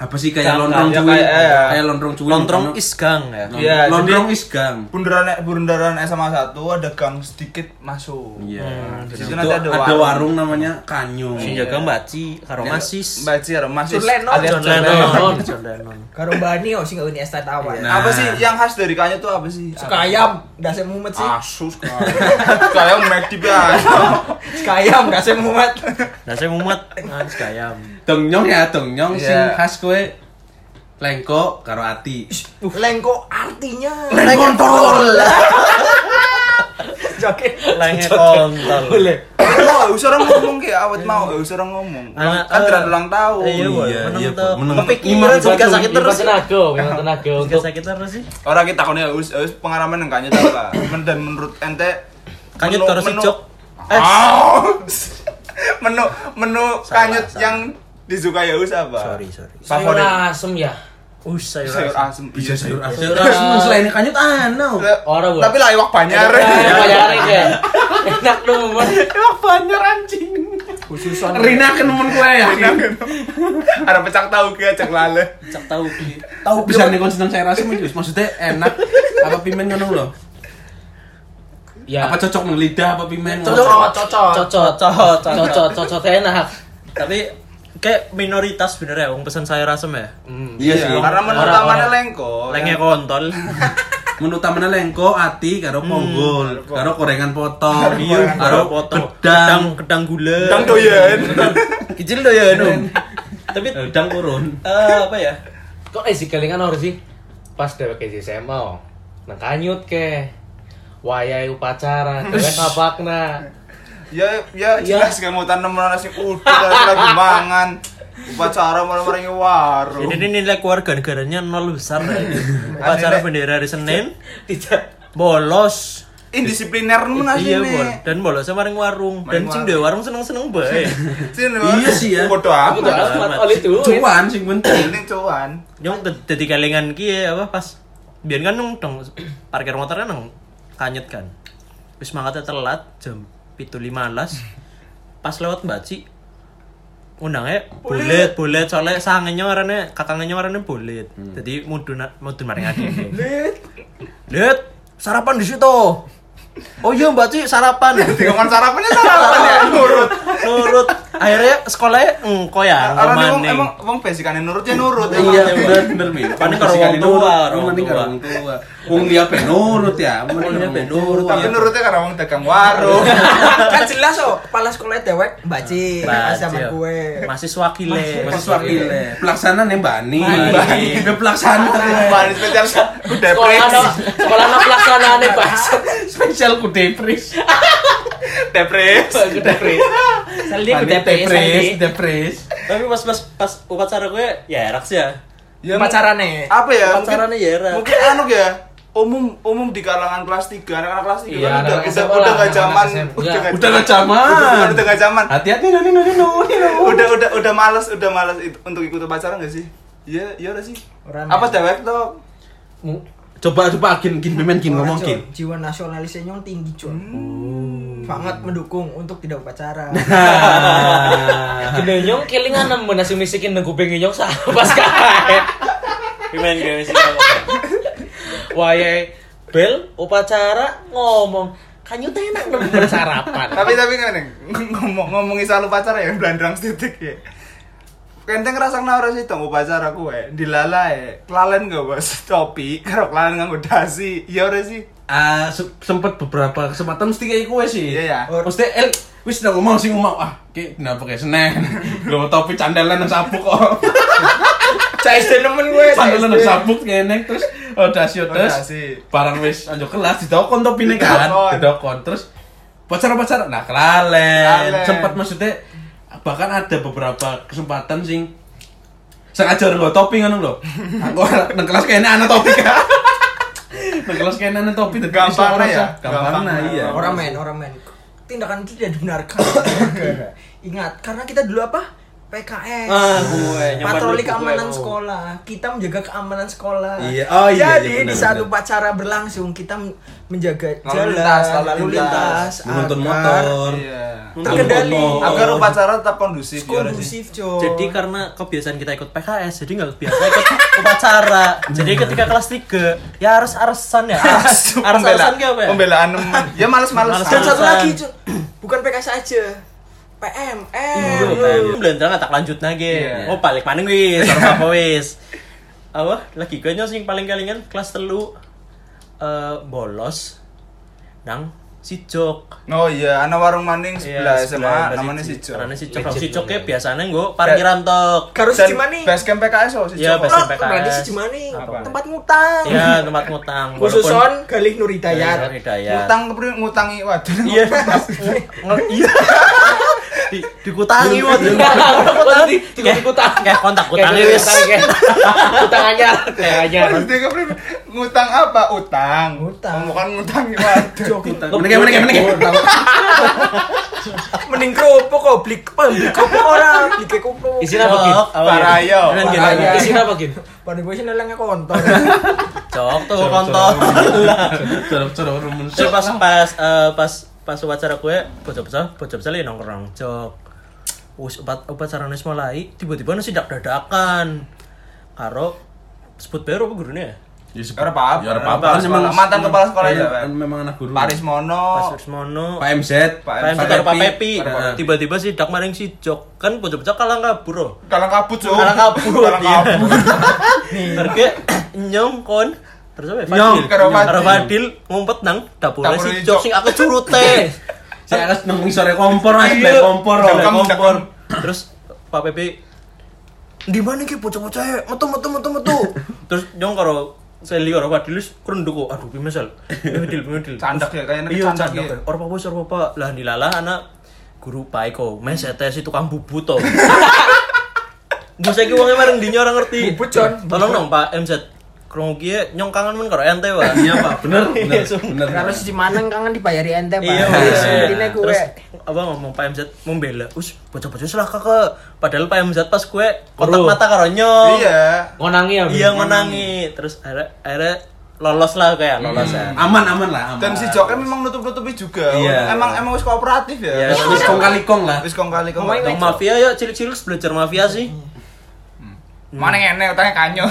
[SPEAKER 4] apa sih kayak
[SPEAKER 3] Jangan,
[SPEAKER 4] lontrong
[SPEAKER 3] ya,
[SPEAKER 4] cuwi,
[SPEAKER 3] kayak, eh, ya.
[SPEAKER 4] kayak lontrong cuwi.
[SPEAKER 1] Lontrong
[SPEAKER 4] Ono-
[SPEAKER 1] isgang ya.
[SPEAKER 4] Lon-
[SPEAKER 3] Iya,
[SPEAKER 4] lontrong isgang.
[SPEAKER 3] Bundaran bundaran SMA 1 ada gang sedikit masuk. Hmm.
[SPEAKER 4] Iya.
[SPEAKER 3] Di
[SPEAKER 4] Jadi
[SPEAKER 3] situ
[SPEAKER 4] itu
[SPEAKER 3] nanti
[SPEAKER 4] ada warung. namanya Kanyung.
[SPEAKER 1] Sing jaga Mbaci karo Masis.
[SPEAKER 3] Mbak Cir, masih
[SPEAKER 5] John Lennon,
[SPEAKER 3] alias
[SPEAKER 1] John
[SPEAKER 3] John
[SPEAKER 1] Lennon.
[SPEAKER 2] Lennon.
[SPEAKER 1] John Lennon.
[SPEAKER 5] Karo Bani oh sing ngene estet awan.
[SPEAKER 4] Nah.
[SPEAKER 3] Apa sih yang khas dari kanya tuh apa sih?
[SPEAKER 5] Sekayam, dase mumet sih.
[SPEAKER 3] Asus Kayak McD biasa.
[SPEAKER 5] Sekayam, dase mumet.
[SPEAKER 1] Nah, saya mumet ngan gayam.
[SPEAKER 4] Dongnyong ya, dongnyong
[SPEAKER 3] Iya.
[SPEAKER 4] sing khas kowe lengkok karo ati.
[SPEAKER 5] Lengko artinya.
[SPEAKER 4] Lengkon tol.
[SPEAKER 5] joget.
[SPEAKER 1] Lenge kontol.
[SPEAKER 3] Wah, usah orang ngomong kayak awet mau, usah orang ngomong.
[SPEAKER 1] Anak-
[SPEAKER 3] Kan tidak ulang tahun.
[SPEAKER 1] Iya, Boy.
[SPEAKER 4] Nah, eh, Iya,
[SPEAKER 1] Menang
[SPEAKER 4] iya,
[SPEAKER 1] tuh.
[SPEAKER 4] Boy. Menang.
[SPEAKER 1] Kepikiran
[SPEAKER 4] Iman
[SPEAKER 1] sih
[SPEAKER 4] batu,
[SPEAKER 1] sakit terus.
[SPEAKER 2] Terus tenaga, memang tenaga
[SPEAKER 1] Gak
[SPEAKER 2] untuk
[SPEAKER 1] sakit terus sih.
[SPEAKER 3] Orang kita konnya us us pengalaman yang kanya tahu lah. Men- Dan menurut ente
[SPEAKER 1] Kanyut
[SPEAKER 3] menu-
[SPEAKER 1] terus sih,
[SPEAKER 3] menu-
[SPEAKER 1] Jok. Eh,
[SPEAKER 3] Ah. menu menu kanyut
[SPEAKER 1] salah.
[SPEAKER 3] yang disukai us apa?
[SPEAKER 1] sorry, sorry.
[SPEAKER 2] sayur
[SPEAKER 3] Favorit.
[SPEAKER 2] asem ya.
[SPEAKER 1] Us sayur
[SPEAKER 3] Sayur
[SPEAKER 1] asem.
[SPEAKER 3] asem.
[SPEAKER 4] Bisa sayur asem.
[SPEAKER 3] Iya.
[SPEAKER 2] Sayur
[SPEAKER 4] Terus
[SPEAKER 2] asem.
[SPEAKER 4] selain kanyut anau.
[SPEAKER 3] Le-
[SPEAKER 2] Orang, Boy.
[SPEAKER 3] Tapi lah iwak
[SPEAKER 1] Iya,
[SPEAKER 3] banyar.
[SPEAKER 2] Eh, bayarin ya. Enak dong, Mas.
[SPEAKER 4] Emang banyak anjing.
[SPEAKER 5] Khususan.
[SPEAKER 4] Rina kan nemen gue ya.
[SPEAKER 3] gitu? Ada pecak tahu ke cek lale.
[SPEAKER 1] Cak tahu ki.
[SPEAKER 4] Tahu bisa nih konsinan sayur asem itu. Maksudnya enak apa pimen ngono lho.
[SPEAKER 2] Ya.
[SPEAKER 4] Apa cocok nang lidah apa pimen?
[SPEAKER 2] Cocok,
[SPEAKER 4] ngono?
[SPEAKER 2] cocok, cocok,
[SPEAKER 1] Cocok,
[SPEAKER 2] cocok, cocok enak.
[SPEAKER 1] Tapi kayak minoritas bener ya wong pesan sayur asem ya.
[SPEAKER 4] Iya sih.
[SPEAKER 3] Karena menu
[SPEAKER 2] Orang-
[SPEAKER 3] utamanya
[SPEAKER 2] orang.
[SPEAKER 3] lengko.
[SPEAKER 1] Lenge kontol.
[SPEAKER 4] Menu utamanya lengko, ati, karo ponggol, karo korengan potong, iya, karo
[SPEAKER 1] potong
[SPEAKER 4] kedang,
[SPEAKER 1] kedang gula.
[SPEAKER 3] Tang doyan.
[SPEAKER 1] Kecil doyan, Om. Tapi
[SPEAKER 4] eh, kedang urun.
[SPEAKER 1] eh, apa ya?
[SPEAKER 2] Kok eh si kelingan harus sih? Pas dewek di SMA, oh. nang kanyut ke. Wayai upacara, dewek kapakna.
[SPEAKER 3] Ya ya
[SPEAKER 1] Iya.
[SPEAKER 3] jelas gak mau tanam nasi uduk lagi lagi mangan. Upacara malam-malam warung.
[SPEAKER 1] Jadi ini nilai keluarga negaranya nol besar ya. Upacara
[SPEAKER 3] Nilai-
[SPEAKER 1] bendera hari Senin
[SPEAKER 2] Tidak.
[SPEAKER 1] bolos.
[SPEAKER 3] Indisipliner mun
[SPEAKER 1] Iya, bol.
[SPEAKER 3] asine.
[SPEAKER 1] Dan bolosnya maring warung. Dan
[SPEAKER 3] Maring
[SPEAKER 1] sing duwe warung seneng-seneng bae.
[SPEAKER 3] Sini,
[SPEAKER 4] Iya sih, ya.
[SPEAKER 3] Bodoh
[SPEAKER 2] Aku tuh
[SPEAKER 3] amat.
[SPEAKER 2] amat oleh itu.
[SPEAKER 4] Cuan sing penting.
[SPEAKER 3] Ini cuan.
[SPEAKER 1] Nyong te- dadi kelingan ki ya, apa pas biar kan nung dong parkir motornya nang kanyet kan. Wis mangkatnya telat jam 7.15. Pas lewat Baci undangnya bulet bulet soalnya sangenya warnanya kakangnya warnanya bulet jadi mudun mudun maring adik Lihat, sarapan di situ. Oh iya Mbak Ci, sarapan.
[SPEAKER 3] Tikongan sarapannya sarapan
[SPEAKER 4] Iya,
[SPEAKER 3] ya nurut.
[SPEAKER 1] Nurut. Akhirnya sekolahnya engko ya,
[SPEAKER 3] Orang emang
[SPEAKER 1] ngomane.
[SPEAKER 3] emang emang basicannya nurut ya nurut.
[SPEAKER 4] Iya
[SPEAKER 3] emang.
[SPEAKER 4] bener bener mi.
[SPEAKER 1] Paling karo wong tua, karo wong
[SPEAKER 4] mending karo
[SPEAKER 1] tua.
[SPEAKER 4] wong tua. Wong dia ben nurut ya, wong
[SPEAKER 1] Wong
[SPEAKER 4] dia
[SPEAKER 1] dia ben
[SPEAKER 4] nurut.
[SPEAKER 3] Tapi nurutnya karena wong dagang warung.
[SPEAKER 4] Iya.
[SPEAKER 5] kan jelas oh, kepala sekolah dewek Mbak Ci,
[SPEAKER 1] Mbak
[SPEAKER 5] pas
[SPEAKER 1] Ci,
[SPEAKER 5] zaman gue.
[SPEAKER 1] Mahasiswa kile.
[SPEAKER 4] Mahasiswa kile.
[SPEAKER 3] ya.
[SPEAKER 4] Pelaksana nih Bani.
[SPEAKER 1] Bani.
[SPEAKER 4] Gue pelaksana.
[SPEAKER 3] Bahan spesial udah
[SPEAKER 2] Sekolah
[SPEAKER 3] pres.
[SPEAKER 2] no, sekolah no pelaksanaannya bahasa.
[SPEAKER 4] Spesial ku depres.
[SPEAKER 3] Depres.
[SPEAKER 2] Saldi
[SPEAKER 4] Bani depres, depres.
[SPEAKER 1] Tapi pas pas pas upacara gue ya erak sih ya.
[SPEAKER 3] Ya,
[SPEAKER 5] Pacarannya.
[SPEAKER 3] apa ya? mungkin-
[SPEAKER 1] Upacaranya ya erak.
[SPEAKER 3] Mungkin anu ya umum umum di kalangan kelas 3 anak-anak kelas 3
[SPEAKER 2] Iya,
[SPEAKER 3] kan udah
[SPEAKER 2] anak-anak
[SPEAKER 3] udah
[SPEAKER 2] SMA
[SPEAKER 3] udah
[SPEAKER 2] lah,
[SPEAKER 3] gak
[SPEAKER 2] anak-anak
[SPEAKER 3] zaman
[SPEAKER 2] SMA.
[SPEAKER 3] nggak-
[SPEAKER 4] Udah gak
[SPEAKER 3] udah
[SPEAKER 4] zaman.
[SPEAKER 3] udah gak zaman
[SPEAKER 4] Hati-hati nani nani nani.
[SPEAKER 3] udah udah udah malas udah malas it- untuk ikut upacara gak sih iya iya udah sih
[SPEAKER 5] Orang
[SPEAKER 3] apa
[SPEAKER 5] ya.
[SPEAKER 3] dewek tuh
[SPEAKER 4] Coba coba kin kin pimen kin
[SPEAKER 5] Orang,
[SPEAKER 4] ngomong kin.
[SPEAKER 5] Cok, Jiwa nasionalisnya nyong tinggi, cuy. Sangat mendukung untuk tidak upacara.
[SPEAKER 2] Genenyong kelingan nemu nasi misikin nang kuping nyong sa pas kae.
[SPEAKER 1] Pimen gue sih.
[SPEAKER 2] Wayahe ya, bel upacara ngomong kanyut enak nemu sarapan.
[SPEAKER 3] tapi tapi kan Neng, ngomong ngomongin soal upacara ya blandrang titik ya Kenteng ngerasa harus itu upacara kue dilala ya kelalen gak bos topi karo kelalen nganggo dasi iya udah sih
[SPEAKER 4] Ah, se- sempet beberapa kesempatan mesti kayak gue sih.
[SPEAKER 3] Iya, ya.
[SPEAKER 4] Mesti el wis udah ngomong sih ngomong ah, kayak kenapa kayak senen. Lo topi candalan nang sabuk kok.
[SPEAKER 5] CSD nemen gue.
[SPEAKER 4] Candalan nang sabuk ngeneng terus oh dasi oh,
[SPEAKER 3] udah
[SPEAKER 4] das.
[SPEAKER 3] iya sih
[SPEAKER 4] Barang wis anjo kelas didokon topine kan.
[SPEAKER 3] Didokon.
[SPEAKER 4] Didokon terus pacar-pacar nah kelalen.
[SPEAKER 3] Kelalen.
[SPEAKER 4] Sempet maksudnya bahkan ada beberapa kesempatan sing sengaja nggo topi ngono lho. Aku nang kelas kayaknya ana topi kan. Nang kelas kayaknya ana topi dadi
[SPEAKER 3] Gampangnya ya?
[SPEAKER 4] Gampangnya
[SPEAKER 3] Gampangnya.
[SPEAKER 4] iya.
[SPEAKER 5] Orang men, orang men. Tindakan itu tidak dibenarkan. Ingat, karena kita dulu apa? PKS.
[SPEAKER 1] Ah, gue, nyaman dulu
[SPEAKER 5] Patroli
[SPEAKER 1] gue,
[SPEAKER 5] keamanan
[SPEAKER 1] mau.
[SPEAKER 5] sekolah. Kita menjaga keamanan sekolah.
[SPEAKER 4] Iya, oh iya, iya,
[SPEAKER 5] Jadi
[SPEAKER 4] benar,
[SPEAKER 5] di saat
[SPEAKER 4] benar.
[SPEAKER 5] upacara berlangsung kita men- menjaga
[SPEAKER 3] Lalu
[SPEAKER 5] jalan,
[SPEAKER 3] lintas, lalu
[SPEAKER 5] lalu lintas,
[SPEAKER 3] lintas.
[SPEAKER 4] Menuntun
[SPEAKER 5] agar
[SPEAKER 4] motor.
[SPEAKER 3] iya
[SPEAKER 4] Menuntun
[SPEAKER 5] Terkendali.
[SPEAKER 4] motor.
[SPEAKER 3] agar upacara tetap kondusif iya udah sih
[SPEAKER 5] Kondusif, coy.
[SPEAKER 1] Jadi karena kebiasaan kita ikut PKS, jadi nggak biasa ikut upacara. Jadi
[SPEAKER 3] Hmm.
[SPEAKER 1] ketika kelas 3 ya harus arsan ya. Ars- Arsan-arsan kayak apa ya?
[SPEAKER 3] pembelaan temen. ya
[SPEAKER 1] Males.
[SPEAKER 3] males-males
[SPEAKER 5] Dan satu
[SPEAKER 1] Alasan.
[SPEAKER 5] lagi, Cuk. bukan PKS aja.
[SPEAKER 1] Iya,
[SPEAKER 5] PMM.
[SPEAKER 1] Belanda gitu. tak lanjut lagi.
[SPEAKER 3] Hmm. Iya.
[SPEAKER 1] Oh paling paling wis, orang apa wis. Apa? Lagi gue nyosing paling kalingan kelas telu eh bolos nang si Jok.
[SPEAKER 3] Oh iya, anak warung maning sebelah
[SPEAKER 1] Iya,
[SPEAKER 3] SMA
[SPEAKER 1] sebelah
[SPEAKER 3] namanya si Jo.
[SPEAKER 1] Karena si Jok,
[SPEAKER 2] Legend
[SPEAKER 1] si Jok
[SPEAKER 2] namanya.
[SPEAKER 1] biasanya gue parkiran tok.
[SPEAKER 5] Karo si
[SPEAKER 3] Dan
[SPEAKER 5] Cimani.
[SPEAKER 3] Basecamp PKS oh si
[SPEAKER 1] Iya,
[SPEAKER 3] Jo.
[SPEAKER 1] basecamp.
[SPEAKER 5] Oh,
[SPEAKER 1] SMPKS.
[SPEAKER 5] berarti si Cimani.
[SPEAKER 3] Apa?
[SPEAKER 5] Tempat ngutang.
[SPEAKER 1] Ya tempat ngutang. Walaupun-
[SPEAKER 5] Khususon Galih Nur Hidayat.
[SPEAKER 1] Hidayat.
[SPEAKER 3] Ngutang kepri- ngutangi waduh.
[SPEAKER 1] Iya. Nge- Iya. Di dikutangi wot.
[SPEAKER 2] Tadi
[SPEAKER 1] Kayak kayak kontak kutangi wis.
[SPEAKER 2] Utang anyar, kayak anyar.
[SPEAKER 3] Terus dia kepri, ngutang apa? Utang.
[SPEAKER 5] Utang.
[SPEAKER 3] Oh, bukan ngutangi waduh.
[SPEAKER 4] Menengah, menengah, menengah.
[SPEAKER 5] Mending kerupuk kok beli beli kerupuk orang, beli kayak kerupuk.
[SPEAKER 2] Isinya apa
[SPEAKER 1] Oh,
[SPEAKER 2] gin?
[SPEAKER 3] Parayo.
[SPEAKER 1] Kan gini.
[SPEAKER 5] Parayo.
[SPEAKER 2] Isinya apa gin?
[SPEAKER 5] Pada gue sih nelangnya kontol.
[SPEAKER 1] Cok tuh kontol.
[SPEAKER 4] Cara-cara rumun.
[SPEAKER 1] Terus pas pas eh, pas pas upacara gue bocah bocah bocah bocah lagi nongkrong cok. Wis upat upacara nulis mulai tiba-tiba nasi dak dadakan. Karo sebut baru apa gurunya? ya?
[SPEAKER 4] Ya sebab-
[SPEAKER 3] Ora apa-apa.
[SPEAKER 4] Ya, ora apa-apa.
[SPEAKER 3] Kepala sekolah. Mantan kepala sekolah
[SPEAKER 4] Iya,
[SPEAKER 3] ya, Pak.
[SPEAKER 4] Memang anak guru.
[SPEAKER 3] Paris Mono.
[SPEAKER 1] Pas Sursmono.
[SPEAKER 4] Pak MZ.
[SPEAKER 1] Pak
[SPEAKER 3] Pak Pak
[SPEAKER 1] Empi karo Pak
[SPEAKER 4] Pepi.
[SPEAKER 1] Pepi.
[SPEAKER 4] Karo Pak Pepi.
[SPEAKER 1] Tiba-tiba si dak maring si Jok kan bocah bocah kalang kabur loh.
[SPEAKER 3] Kalang kabut, Jo.
[SPEAKER 1] Kalang kabut,
[SPEAKER 3] Kalang
[SPEAKER 1] iya.
[SPEAKER 3] kabut.
[SPEAKER 1] Terke nyong kon terus apa? ya?
[SPEAKER 4] Nyong,
[SPEAKER 1] Fadil.
[SPEAKER 3] karo Fadil.
[SPEAKER 1] Karo Fadil ngumpet nang dapure
[SPEAKER 3] Dapure
[SPEAKER 1] si
[SPEAKER 3] si
[SPEAKER 1] Jok
[SPEAKER 3] Jok.
[SPEAKER 1] sing aku curute.
[SPEAKER 4] Saya harus nemu sore kompor mas,
[SPEAKER 3] Iya.
[SPEAKER 4] bel kompor.
[SPEAKER 3] Jam
[SPEAKER 4] Bel
[SPEAKER 3] kamu, jam
[SPEAKER 4] kompor.
[SPEAKER 3] kamu.
[SPEAKER 1] terus Pak Pepe di mana ki bocah-bocah ya? metu metu metu metu. terus nyong karo Seli karo Fadil wis kerunduk kok. Aduh pimisal. Fadil Fadil.
[SPEAKER 3] Candak ya, kayaknya
[SPEAKER 1] Iya
[SPEAKER 3] candak
[SPEAKER 1] candak.
[SPEAKER 3] ya.
[SPEAKER 1] ya. Ora apa wis ora apa. Lah dilalah anak guru Pak Eko. Mes etes si tukang bubut to. Mbok saiki wonge bareng dinya ora ngerti.
[SPEAKER 5] Bubut, Jon.
[SPEAKER 1] Tolong dong Pak MZ. Krungu ki nyong kangen men karo ente wae.
[SPEAKER 4] Iya pak, bener, bener,
[SPEAKER 1] Iya,
[SPEAKER 4] bener.
[SPEAKER 5] Karo si Cimani kangen kan dibayari ente, Pak.
[SPEAKER 1] Iya,
[SPEAKER 5] Wis,
[SPEAKER 1] Mas.
[SPEAKER 5] Intinya gue.
[SPEAKER 1] Terus apa ngomong Pak MZ membela, us bocah-bocah salah kakak. Padahal Pak MZ pas gue kotak
[SPEAKER 2] Perlu.
[SPEAKER 1] mata karo nyong.
[SPEAKER 3] Iya.
[SPEAKER 2] Ngonangi ya. Bin?
[SPEAKER 1] Iya menangi. Terus akhirnya, akhirnya lolos lah kayak lolos
[SPEAKER 5] Hmm.
[SPEAKER 1] ya.
[SPEAKER 4] Aman, aman lah, aman.
[SPEAKER 3] Dan si Joknya memang nutup-nutupi juga.
[SPEAKER 4] Nah, Iya.
[SPEAKER 3] Emang emang wis kooperatif ya.
[SPEAKER 1] Iya.
[SPEAKER 4] Terus kong kali kong lah.
[SPEAKER 3] Wis kong kali kong.
[SPEAKER 5] Ngomongin
[SPEAKER 1] Yang
[SPEAKER 5] Hmm.
[SPEAKER 1] mafia ya cilik-cilik belajar mafia sih.
[SPEAKER 3] Mana ngene utangnya kanyo.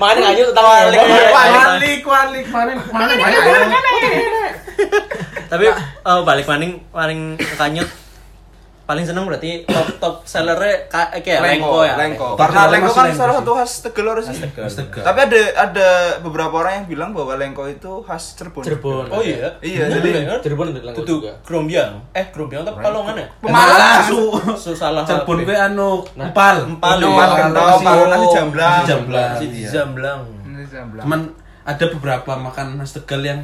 [SPEAKER 2] Makanya aja tentang
[SPEAKER 1] Oh,
[SPEAKER 2] walik.
[SPEAKER 1] iya.
[SPEAKER 4] Walik, walik, mana, mana, mana.
[SPEAKER 1] Tapi
[SPEAKER 5] Nah.
[SPEAKER 1] eh, balik maning paling kanyut paling seneng berarti top top sellernya ka- kayak Lengko ya.
[SPEAKER 3] Lengko.
[SPEAKER 4] Lengko.
[SPEAKER 3] Karena
[SPEAKER 4] Tapi
[SPEAKER 3] Lengko
[SPEAKER 4] masih
[SPEAKER 3] kan
[SPEAKER 4] Lengko
[SPEAKER 3] salah
[SPEAKER 4] sih.
[SPEAKER 3] satu khas Tegal harus sih.
[SPEAKER 4] Astaga.
[SPEAKER 3] Tapi ada ada beberapa orang yang bilang bahwa Lengko itu khas Cirebon.
[SPEAKER 2] Cirebon.
[SPEAKER 1] Oh iya.
[SPEAKER 3] Iya, jadi
[SPEAKER 2] Cirebon Lengko
[SPEAKER 1] Itu
[SPEAKER 2] juga.
[SPEAKER 1] Grombiang. Eh Grombiang tapi Palongan ya.
[SPEAKER 4] Pemalas, su.
[SPEAKER 1] Susalah.
[SPEAKER 4] Cerbon gue anu, empal,
[SPEAKER 1] Empal, ya.
[SPEAKER 4] Iya,
[SPEAKER 1] empal,
[SPEAKER 3] kentang,
[SPEAKER 4] si-
[SPEAKER 3] paru nasi jamblang.
[SPEAKER 4] si jamblang.
[SPEAKER 1] Si
[SPEAKER 4] iya.
[SPEAKER 1] Jamblang.
[SPEAKER 4] Cuman ada beberapa makanan khas Tegal yang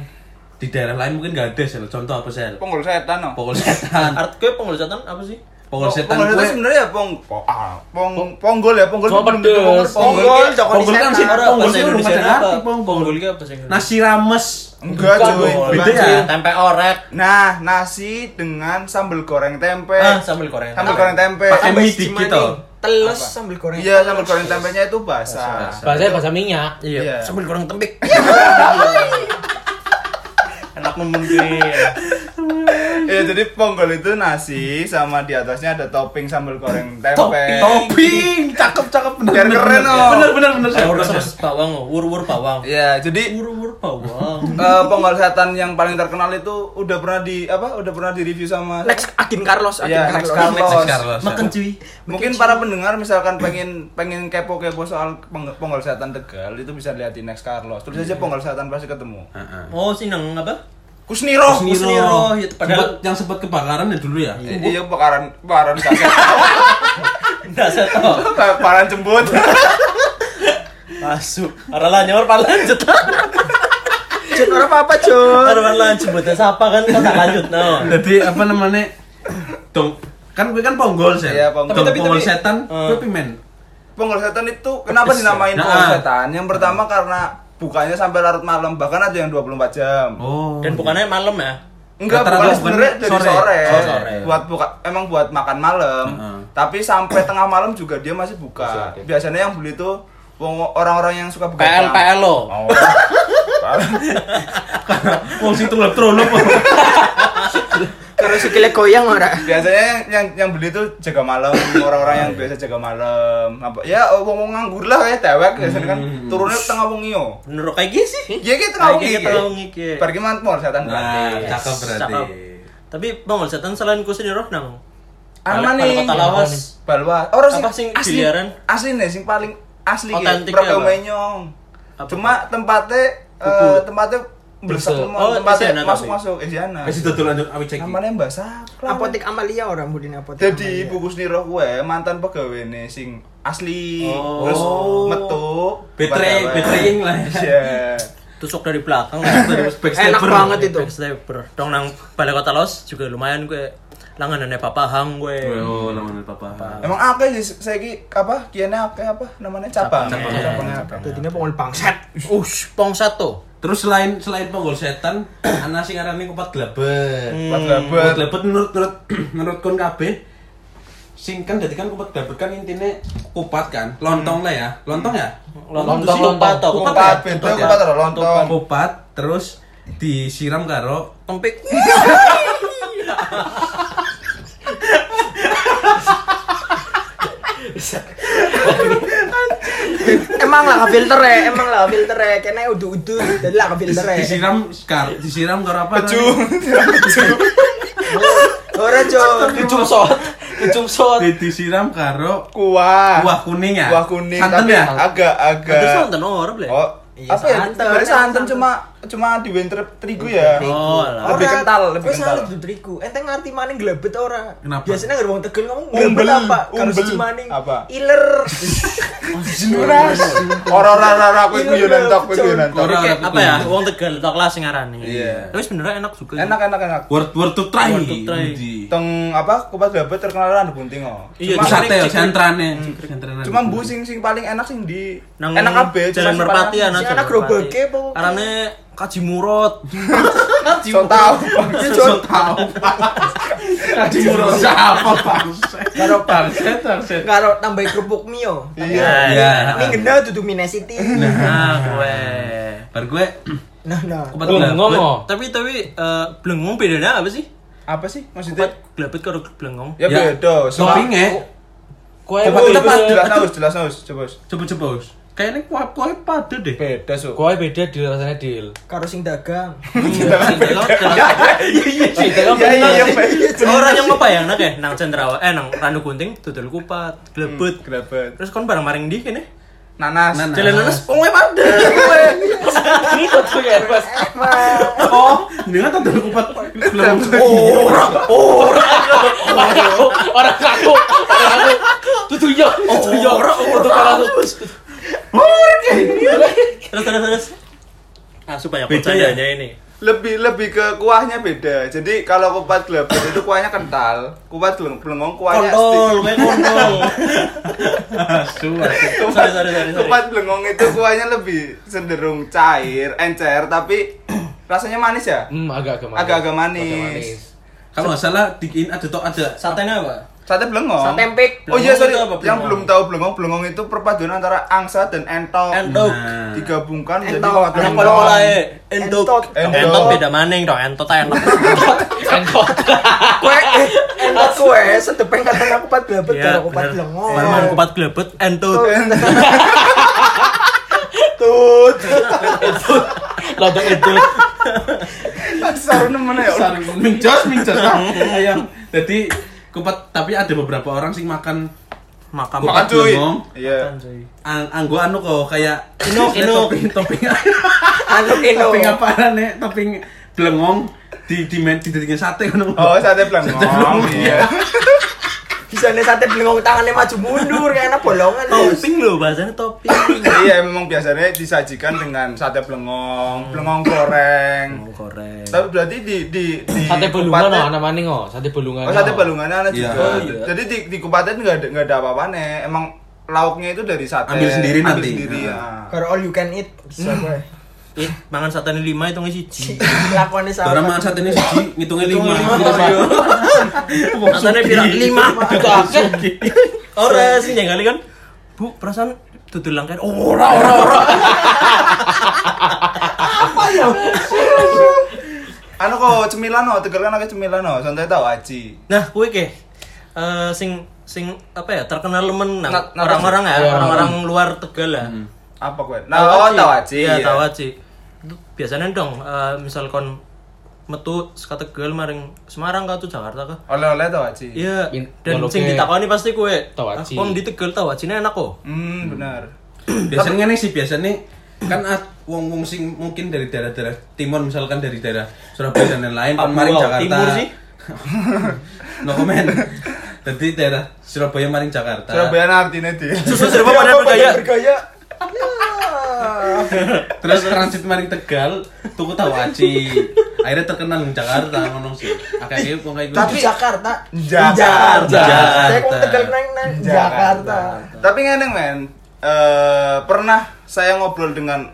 [SPEAKER 4] di daerah lain mungkin gak ada sel. Contoh apa sel?
[SPEAKER 3] Pengul setan no.
[SPEAKER 4] Pokok setan.
[SPEAKER 1] Art gue pengurusan apa sih?
[SPEAKER 4] Pokok setan
[SPEAKER 3] Pengul Oh, setan
[SPEAKER 4] gue.
[SPEAKER 3] sebenarnya ya pong po- ah, pong ponggol ya ponggol.
[SPEAKER 2] Cuma
[SPEAKER 3] Ponggol,
[SPEAKER 2] pedes.
[SPEAKER 3] ponggol, Ponggol coklat
[SPEAKER 4] Ponggol kan sih,
[SPEAKER 1] Ora
[SPEAKER 4] ponggol
[SPEAKER 1] bahasa
[SPEAKER 4] sih rumah
[SPEAKER 1] Indonesia
[SPEAKER 4] jalan
[SPEAKER 1] apa?
[SPEAKER 4] arti ponggol.
[SPEAKER 1] Ponggol ki apa sih?
[SPEAKER 4] Nasi rames.
[SPEAKER 3] Enggak,
[SPEAKER 2] Bukan
[SPEAKER 3] cuy.
[SPEAKER 2] dong.
[SPEAKER 3] Bukan,
[SPEAKER 4] Beda
[SPEAKER 3] cuy.
[SPEAKER 4] ya?
[SPEAKER 1] tempe orek.
[SPEAKER 3] Nah, nasi dengan sambal goreng
[SPEAKER 4] Eh.
[SPEAKER 3] tempe.
[SPEAKER 1] Ah, sambal goreng.
[SPEAKER 3] Sambal goreng tempe.
[SPEAKER 4] Pakai
[SPEAKER 5] Sampai
[SPEAKER 4] mie
[SPEAKER 5] si
[SPEAKER 4] dikit oh.
[SPEAKER 5] Cimani.
[SPEAKER 4] toh.
[SPEAKER 5] Telus sambil goreng.
[SPEAKER 3] Iya, sambal goreng tempenya itu basah.
[SPEAKER 2] Bahasanya bahasa minyak.
[SPEAKER 3] Iya.
[SPEAKER 1] Iya, sambal goreng tembik. Enak memenuhi.
[SPEAKER 3] Iya, jadi ponggol itu nasi sama di atasnya ada topping sambal goreng tempe.
[SPEAKER 4] Topping. Topping. Cakep, cakep. Bener,
[SPEAKER 3] Biar
[SPEAKER 4] bener,
[SPEAKER 3] keren,
[SPEAKER 4] bener.
[SPEAKER 3] loh.
[SPEAKER 4] Bener, bener, bener. Sel.
[SPEAKER 1] Terus bawang, oh, wur-wur bawang.
[SPEAKER 3] Iya, jadi
[SPEAKER 1] Wur-wur bawang.
[SPEAKER 3] eh, ponggol setan yang paling terkenal itu udah pernah di apa? Udah pernah di review sama
[SPEAKER 5] Next Agin Carlos, Agin
[SPEAKER 3] Iya, Next
[SPEAKER 5] Carlos.
[SPEAKER 3] Carlos.
[SPEAKER 4] Next Carlos.
[SPEAKER 1] Makan cuy.
[SPEAKER 3] Mungkin para pendengar misalkan pengen pengen kepo-kepo soal peng- ponggol setan Tegal itu bisa lihat di Next Carlos. Terus aja ponggol setan pasti ketemu.
[SPEAKER 4] Heeh.
[SPEAKER 1] Oh, sinang apa?
[SPEAKER 3] Kusniro.
[SPEAKER 1] Kusniro, ya, padahal-
[SPEAKER 4] Sempat- yang sempat kebakaran ya dulu ya.
[SPEAKER 3] Eh, Iya, bakaran bakaran kaset.
[SPEAKER 1] Enggak seto.
[SPEAKER 3] Bakaran cembut.
[SPEAKER 1] Masuk. Ora lah nyor pala lanjut.
[SPEAKER 5] Jen orang apa, Jon?
[SPEAKER 1] Ora lanjut buat sapa kan kok tak lanjut no.
[SPEAKER 4] Jadi apa namanya? Dong kan gue kan ponggol sel.
[SPEAKER 3] Iya, ponggol.
[SPEAKER 4] Dong,
[SPEAKER 3] Tapi- tapi-
[SPEAKER 4] ponggol
[SPEAKER 3] tapi-
[SPEAKER 4] setan.
[SPEAKER 1] Eh.
[SPEAKER 4] Gue pimen.
[SPEAKER 3] Ponggol setan itu kenapa dinamain
[SPEAKER 4] Nah.
[SPEAKER 3] ponggol setan? Yang pertama karena bukanya sampai larut malam, bahkan ada yang 24 jam.
[SPEAKER 4] Oh.
[SPEAKER 1] Dan bukannya malam ya.
[SPEAKER 3] Enggak,
[SPEAKER 4] Rata-rata
[SPEAKER 3] bukannya
[SPEAKER 4] bukan
[SPEAKER 3] sebenarnya dari
[SPEAKER 4] sore.
[SPEAKER 3] sore.
[SPEAKER 4] Oh, sore.
[SPEAKER 3] Buat buka emang buat makan malam.
[SPEAKER 4] Heeh.
[SPEAKER 3] Tapi sampai tengah malam juga dia masih buka. Biasanya yang beli itu wong- orang-orang yang suka buka.
[SPEAKER 1] PL
[SPEAKER 3] jam.
[SPEAKER 1] PL lo.
[SPEAKER 3] Oh.
[SPEAKER 4] Wong situ lep trolop.
[SPEAKER 5] Karo sikile goyang ora.
[SPEAKER 3] Biasanya yang- yang yang beli itu jaga malam, orang-orang yang biasa jaga malam. Apa ya wong-wong nganggur lah kayak dewek biasanya kan
[SPEAKER 4] Hmm.
[SPEAKER 3] turunnya tengah wengi yo.
[SPEAKER 1] Menurut kayak gini sih.
[SPEAKER 3] Iya gitu tengah wengi.
[SPEAKER 1] Kayak gitu, ngiki.
[SPEAKER 3] Pergi mantmol setan
[SPEAKER 4] Nah,
[SPEAKER 3] berarti.
[SPEAKER 4] cakep berarti.
[SPEAKER 1] Cakep. Tapi Bang setan selain kusin roh nang. Balik-
[SPEAKER 3] Arma nih.
[SPEAKER 1] balik kota lawas.
[SPEAKER 3] Balwa. Orang
[SPEAKER 1] Apa sing biliaran?
[SPEAKER 3] Asli nih sing paling asli
[SPEAKER 1] Otentiknya
[SPEAKER 3] Proto
[SPEAKER 1] apa?
[SPEAKER 3] Menyong.
[SPEAKER 1] ya, Apa?
[SPEAKER 3] Cuma tempatnya eh,
[SPEAKER 1] Bubur.
[SPEAKER 3] tempatnya Blesak
[SPEAKER 1] Blesek.
[SPEAKER 3] mau
[SPEAKER 1] Oh,
[SPEAKER 3] tempatnya
[SPEAKER 1] Isyana
[SPEAKER 3] masuk
[SPEAKER 1] tapi.
[SPEAKER 3] masuk Isyana.
[SPEAKER 4] Wis Eh, dodol lanjut awit cek.
[SPEAKER 3] Namanya Mbak Saklan.
[SPEAKER 5] Apotek Amalia orang budin apotek.
[SPEAKER 3] Jadi
[SPEAKER 5] Amalia.
[SPEAKER 3] ibu Kusniro kuwe mantan pegawai sing asli
[SPEAKER 4] Oh.
[SPEAKER 3] terus metu
[SPEAKER 4] Betray-
[SPEAKER 3] pegawai.
[SPEAKER 4] betraying lah.
[SPEAKER 3] Iya.
[SPEAKER 1] tusuk dari belakang ya.
[SPEAKER 5] Enak banget itu.
[SPEAKER 1] Backstabber. Dong nang balai kota los juga lumayan gue langanannya Papa Hang gue.
[SPEAKER 4] Oh, lamun papa.
[SPEAKER 3] Emang akeh sih saya ki apa kiannya akeh apa namanya cabang.
[SPEAKER 1] Cabang.
[SPEAKER 3] Cabangnya akeh.
[SPEAKER 5] Jadi ini pengol bangsat.
[SPEAKER 1] Ush, pong satu.
[SPEAKER 4] Terus selain selain ponggol setan, ana sing ngarani kupat glebet.
[SPEAKER 1] Hmm.
[SPEAKER 3] Pas
[SPEAKER 4] Kupat
[SPEAKER 3] labet.
[SPEAKER 4] glebet menurut menurut menurut kon kabeh sing kan jadi kan kupat glebet kan intine kupat kan, lontong lah ya. Lontong ya?
[SPEAKER 1] Lontong, lontong.
[SPEAKER 4] Lontong, lontong.
[SPEAKER 1] Kupat
[SPEAKER 4] ya?
[SPEAKER 3] Kupat beda
[SPEAKER 4] ya?
[SPEAKER 3] kupat karo lontong.
[SPEAKER 4] Kupat terus disiram karo
[SPEAKER 1] Tempik.
[SPEAKER 5] Emang lah nggak filter ya, emang lah nggak filter ya. Kena udah udah, jadi lah nggak filter ya.
[SPEAKER 4] disiram kar disiram karo apa?
[SPEAKER 3] Pecu.
[SPEAKER 4] namanya?
[SPEAKER 5] Ora cok.
[SPEAKER 1] Ujung shot. Ujung shot.
[SPEAKER 4] Di- Disiram karo
[SPEAKER 3] Kuah.
[SPEAKER 4] kuah kuning ya.
[SPEAKER 3] Kuah kuning
[SPEAKER 4] Santen
[SPEAKER 3] tapi
[SPEAKER 4] ya?
[SPEAKER 3] agak agak.
[SPEAKER 1] Itu santan orang boleh.
[SPEAKER 3] Oh.
[SPEAKER 5] Iya,
[SPEAKER 3] Apa ya?
[SPEAKER 5] santan.
[SPEAKER 3] Sebenarnya santan cuma cuma di terigu ya.
[SPEAKER 1] Oh, lah.
[SPEAKER 3] Lebih kental, lebih
[SPEAKER 5] Wes salah
[SPEAKER 3] kental.
[SPEAKER 5] dudu terigu. Enteng ngerti maning glebet ora?
[SPEAKER 4] Kenapa?
[SPEAKER 5] Biasanya nggak wong Tegel ngomong
[SPEAKER 3] Umbel,
[SPEAKER 5] glebet apa? Karo
[SPEAKER 3] umbel.
[SPEAKER 5] siji maning.
[SPEAKER 3] Apa?
[SPEAKER 5] Iler.
[SPEAKER 3] Jenuras. Ora ora ora ora kowe
[SPEAKER 5] Iya,
[SPEAKER 3] guyon entok kowe guyon entok.
[SPEAKER 1] Jadi kayak
[SPEAKER 4] Orang
[SPEAKER 1] apa ya? Wong Tegal tok lah sing ngarani.
[SPEAKER 3] Iya.
[SPEAKER 1] Tapi sebenarnya enak juga.
[SPEAKER 3] Enak enak enak.
[SPEAKER 4] Worth worth to try.
[SPEAKER 1] Worth to try.
[SPEAKER 4] Budi.
[SPEAKER 3] Teng apa kupat labet terkenal lan bunting oh.
[SPEAKER 1] Iya,
[SPEAKER 3] Cuma-
[SPEAKER 1] cuma-
[SPEAKER 4] Sate ya, santrane. Santrane.
[SPEAKER 3] Cuma bu sing sing paling enak sing di
[SPEAKER 1] Nang
[SPEAKER 3] enak kabeh cuma
[SPEAKER 1] Jalan
[SPEAKER 3] sing
[SPEAKER 1] Merpati
[SPEAKER 3] paling-
[SPEAKER 1] ana
[SPEAKER 5] Si anak gerobake apa?
[SPEAKER 1] Arane Kaji Murot. Kaji
[SPEAKER 3] So tau.
[SPEAKER 4] Iya, Jon. tahu. Tadi urus siapa bangsa? Karo bangsa terset.
[SPEAKER 5] Karo tambahin kerupuk mio.
[SPEAKER 3] Iya.
[SPEAKER 1] Iya.
[SPEAKER 4] Iya.
[SPEAKER 5] Ini gede dudu minesiti.
[SPEAKER 1] Nah, gue.
[SPEAKER 4] Bar gue
[SPEAKER 5] Nah, nah.
[SPEAKER 4] kupat
[SPEAKER 2] Blengong
[SPEAKER 4] glebet.
[SPEAKER 2] oh.
[SPEAKER 1] Tapi tapi eh, blengong bedanya apa sih?
[SPEAKER 3] Apa sih maksudnya?
[SPEAKER 1] Kupat glebet karo blengong.
[SPEAKER 3] Ya
[SPEAKER 4] Ya.
[SPEAKER 3] beda. Cuma-
[SPEAKER 4] Toppingnya.
[SPEAKER 2] Kue
[SPEAKER 3] Coba
[SPEAKER 2] kue
[SPEAKER 3] kita pas
[SPEAKER 2] beda-
[SPEAKER 3] jelas naus, jelas naus, coba. Us.
[SPEAKER 4] Coba-coba, Us. Kayaknya kuah-kuah pada deh.
[SPEAKER 3] Beda, Su.
[SPEAKER 2] Kue beda deal rasanya deal.
[SPEAKER 5] Karo sing dagang.
[SPEAKER 1] Iya,
[SPEAKER 3] Iya, iya, iya, Pak.
[SPEAKER 1] Orang yang ngebayang nak ya, nang cendrawa, eh nang randu gunting, tutul kupat, glebet,
[SPEAKER 3] Gerabet.
[SPEAKER 1] terus kon bareng maring di kene.
[SPEAKER 3] Nah. Nanas.
[SPEAKER 4] Nanas.
[SPEAKER 1] Jalan nanas, wonge pada.
[SPEAKER 2] Itu tuh ya mas.
[SPEAKER 4] Oh, ini kan tadi kupat belum.
[SPEAKER 3] Oh,
[SPEAKER 1] Orang, orang,
[SPEAKER 2] Orang kaku, orang kaku, orang kaku. Tutu yo, tutu yo, tutu kalah tuh.
[SPEAKER 1] terus terus terus. Ah, supaya
[SPEAKER 4] Beda
[SPEAKER 1] percayanya
[SPEAKER 4] ya?
[SPEAKER 1] ini.
[SPEAKER 3] Lebih lebih ke kuahnya beda. Jadi kalau kupat gelebet itu kuahnya kental, kupat geleng- gelengong kuahnya
[SPEAKER 1] Kontol,
[SPEAKER 4] Oh.
[SPEAKER 3] stick.
[SPEAKER 1] gue kontol.
[SPEAKER 4] Asu. asu.
[SPEAKER 1] Sorry, sorry, sorry, sorry.
[SPEAKER 3] Kupat gelengong itu kuahnya lebih cenderung cair, encer tapi rasanya manis ya?
[SPEAKER 2] Hmm, agak agak manis.
[SPEAKER 3] Agak-agak manis.
[SPEAKER 2] Agak manis.
[SPEAKER 4] Kalau nggak salah di ini ada tok ada
[SPEAKER 1] Satenya apa?
[SPEAKER 3] Sate blengong.
[SPEAKER 5] Sate empik.
[SPEAKER 3] Oh iya
[SPEAKER 1] Blengong
[SPEAKER 3] sorry,
[SPEAKER 1] itu apa,
[SPEAKER 3] yang
[SPEAKER 1] blengong?
[SPEAKER 3] belum tahu blengong, blengong itu perpaduan antara angsa dan entok. Hmm.
[SPEAKER 1] Entok.
[SPEAKER 4] Nah.
[SPEAKER 3] Digabungkan menjadi
[SPEAKER 5] Entok.
[SPEAKER 3] kuah
[SPEAKER 1] Anak
[SPEAKER 3] gelengong.
[SPEAKER 1] pola pola entok.
[SPEAKER 3] Entok.
[SPEAKER 1] Entok beda maning dong, entok ta enak.
[SPEAKER 2] Engkot.
[SPEAKER 5] Kue eh, enak kue sedepeng katanya kupat glebet
[SPEAKER 1] Iya,
[SPEAKER 5] karo kupat
[SPEAKER 1] bener.
[SPEAKER 5] lengo.
[SPEAKER 1] Barman kupat glebet entut.
[SPEAKER 3] Iya. Tut.
[SPEAKER 2] Lontong itu.
[SPEAKER 3] Sarung nemen ya.
[SPEAKER 4] sarung mincos mincos ayam. Nah, Jadi kupat tapi ada beberapa orang sih makan
[SPEAKER 1] Makam.
[SPEAKER 3] Makan
[SPEAKER 4] Kupat
[SPEAKER 3] cuy.
[SPEAKER 4] blengong.
[SPEAKER 3] Iya.
[SPEAKER 4] ang anggo anu kok kayak
[SPEAKER 1] Inuk, inuk.
[SPEAKER 4] topping topping
[SPEAKER 5] Anu eno.
[SPEAKER 4] topping apa nih topping blengong di di men di daging sate ngono
[SPEAKER 3] Oh, sate blengong. Iya.
[SPEAKER 5] Bisa nih sate blengong tangannya maju mundur kayak enak bolongan. Terus.
[SPEAKER 1] Topping loh bahasanya topping.
[SPEAKER 3] Iya, memang biasanya disajikan dengan sate blengong, blengong goreng.
[SPEAKER 1] Mau goreng.
[SPEAKER 3] Tapi berarti di di di
[SPEAKER 2] Sate
[SPEAKER 3] kupatnya-
[SPEAKER 2] belungan oh, nama maning oh. Sate belungan.
[SPEAKER 3] ya? Oh, sate
[SPEAKER 2] oh.
[SPEAKER 3] balungannya ada
[SPEAKER 4] Iya.
[SPEAKER 3] juga.
[SPEAKER 4] Oh,
[SPEAKER 1] iya.
[SPEAKER 3] Jadi di di kupatnya nggak ada nggak ada apa-apanya. Emang lauknya itu dari sate.
[SPEAKER 4] Ambil sendiri nanti.
[SPEAKER 3] sendiri, ya.
[SPEAKER 5] Karo all you can eat bisa
[SPEAKER 3] Hmm.
[SPEAKER 5] kue.
[SPEAKER 1] Ih, mangan satenya lima itu ngisi
[SPEAKER 5] Iya,
[SPEAKER 1] siji.
[SPEAKER 5] Lakonnya
[SPEAKER 4] Orang
[SPEAKER 5] sama.
[SPEAKER 4] makan sate ini siji ngitungnya lima.
[SPEAKER 1] Rasanya bilang lima.
[SPEAKER 2] Itu akeh.
[SPEAKER 1] Ora sih yang kali kan. Bu, perasaan tutul langkain. Oh, ora ora ora.
[SPEAKER 3] Anu kok cemilan no, tegal kan ada cemilan no, santai tahu aci.
[SPEAKER 1] Nah, kue ke eh sing sing apa ya terkenal lemen nang
[SPEAKER 3] Nat- nat-
[SPEAKER 1] orang-orang ya,
[SPEAKER 2] Iya,
[SPEAKER 1] orang-orang luar Tegal lah.
[SPEAKER 3] Apa kue? Nah, oh tahu aci.
[SPEAKER 1] Iya,
[SPEAKER 3] iya.
[SPEAKER 1] tahu aci. Itu Biasanya dong eh, misal kon metu saka Tegal maring Semarang kah tuh Jakarta kah?
[SPEAKER 3] Oleh-oleh tahu aci.
[SPEAKER 1] Iya,
[SPEAKER 2] In-
[SPEAKER 1] dan
[SPEAKER 2] walau
[SPEAKER 1] sing
[SPEAKER 2] ke-
[SPEAKER 1] ditakoni pasti kue.
[SPEAKER 2] Tahu aci.
[SPEAKER 1] Ah, Kon di Tegal tahu acine enak kok.
[SPEAKER 3] Hmm, benar.
[SPEAKER 4] Biasanya nih sih biasanya kan at- wong-wong sing mungkin dari daerah-daerah timur misalkan dari daerah Surabaya dan lain-lain
[SPEAKER 1] Papua,
[SPEAKER 4] kemarin Jakarta
[SPEAKER 1] timur sih.
[SPEAKER 4] no comment jadi daerah Surabaya maring Jakarta
[SPEAKER 3] Surabaya Iya, artinya dia.
[SPEAKER 1] Susu serba pada bergaya.
[SPEAKER 5] bergaya.
[SPEAKER 4] terus transit maring Tegal tuku tahu aci akhirnya terkenal di Jakarta ngono sih akhirnya kok kayak gitu
[SPEAKER 5] Tapi Jakarta.
[SPEAKER 3] Jakarta.
[SPEAKER 5] Saya kok tegal neng neng Jakarta.
[SPEAKER 3] Tapi ngeneng men, Eh, pernah saya ngobrol dengan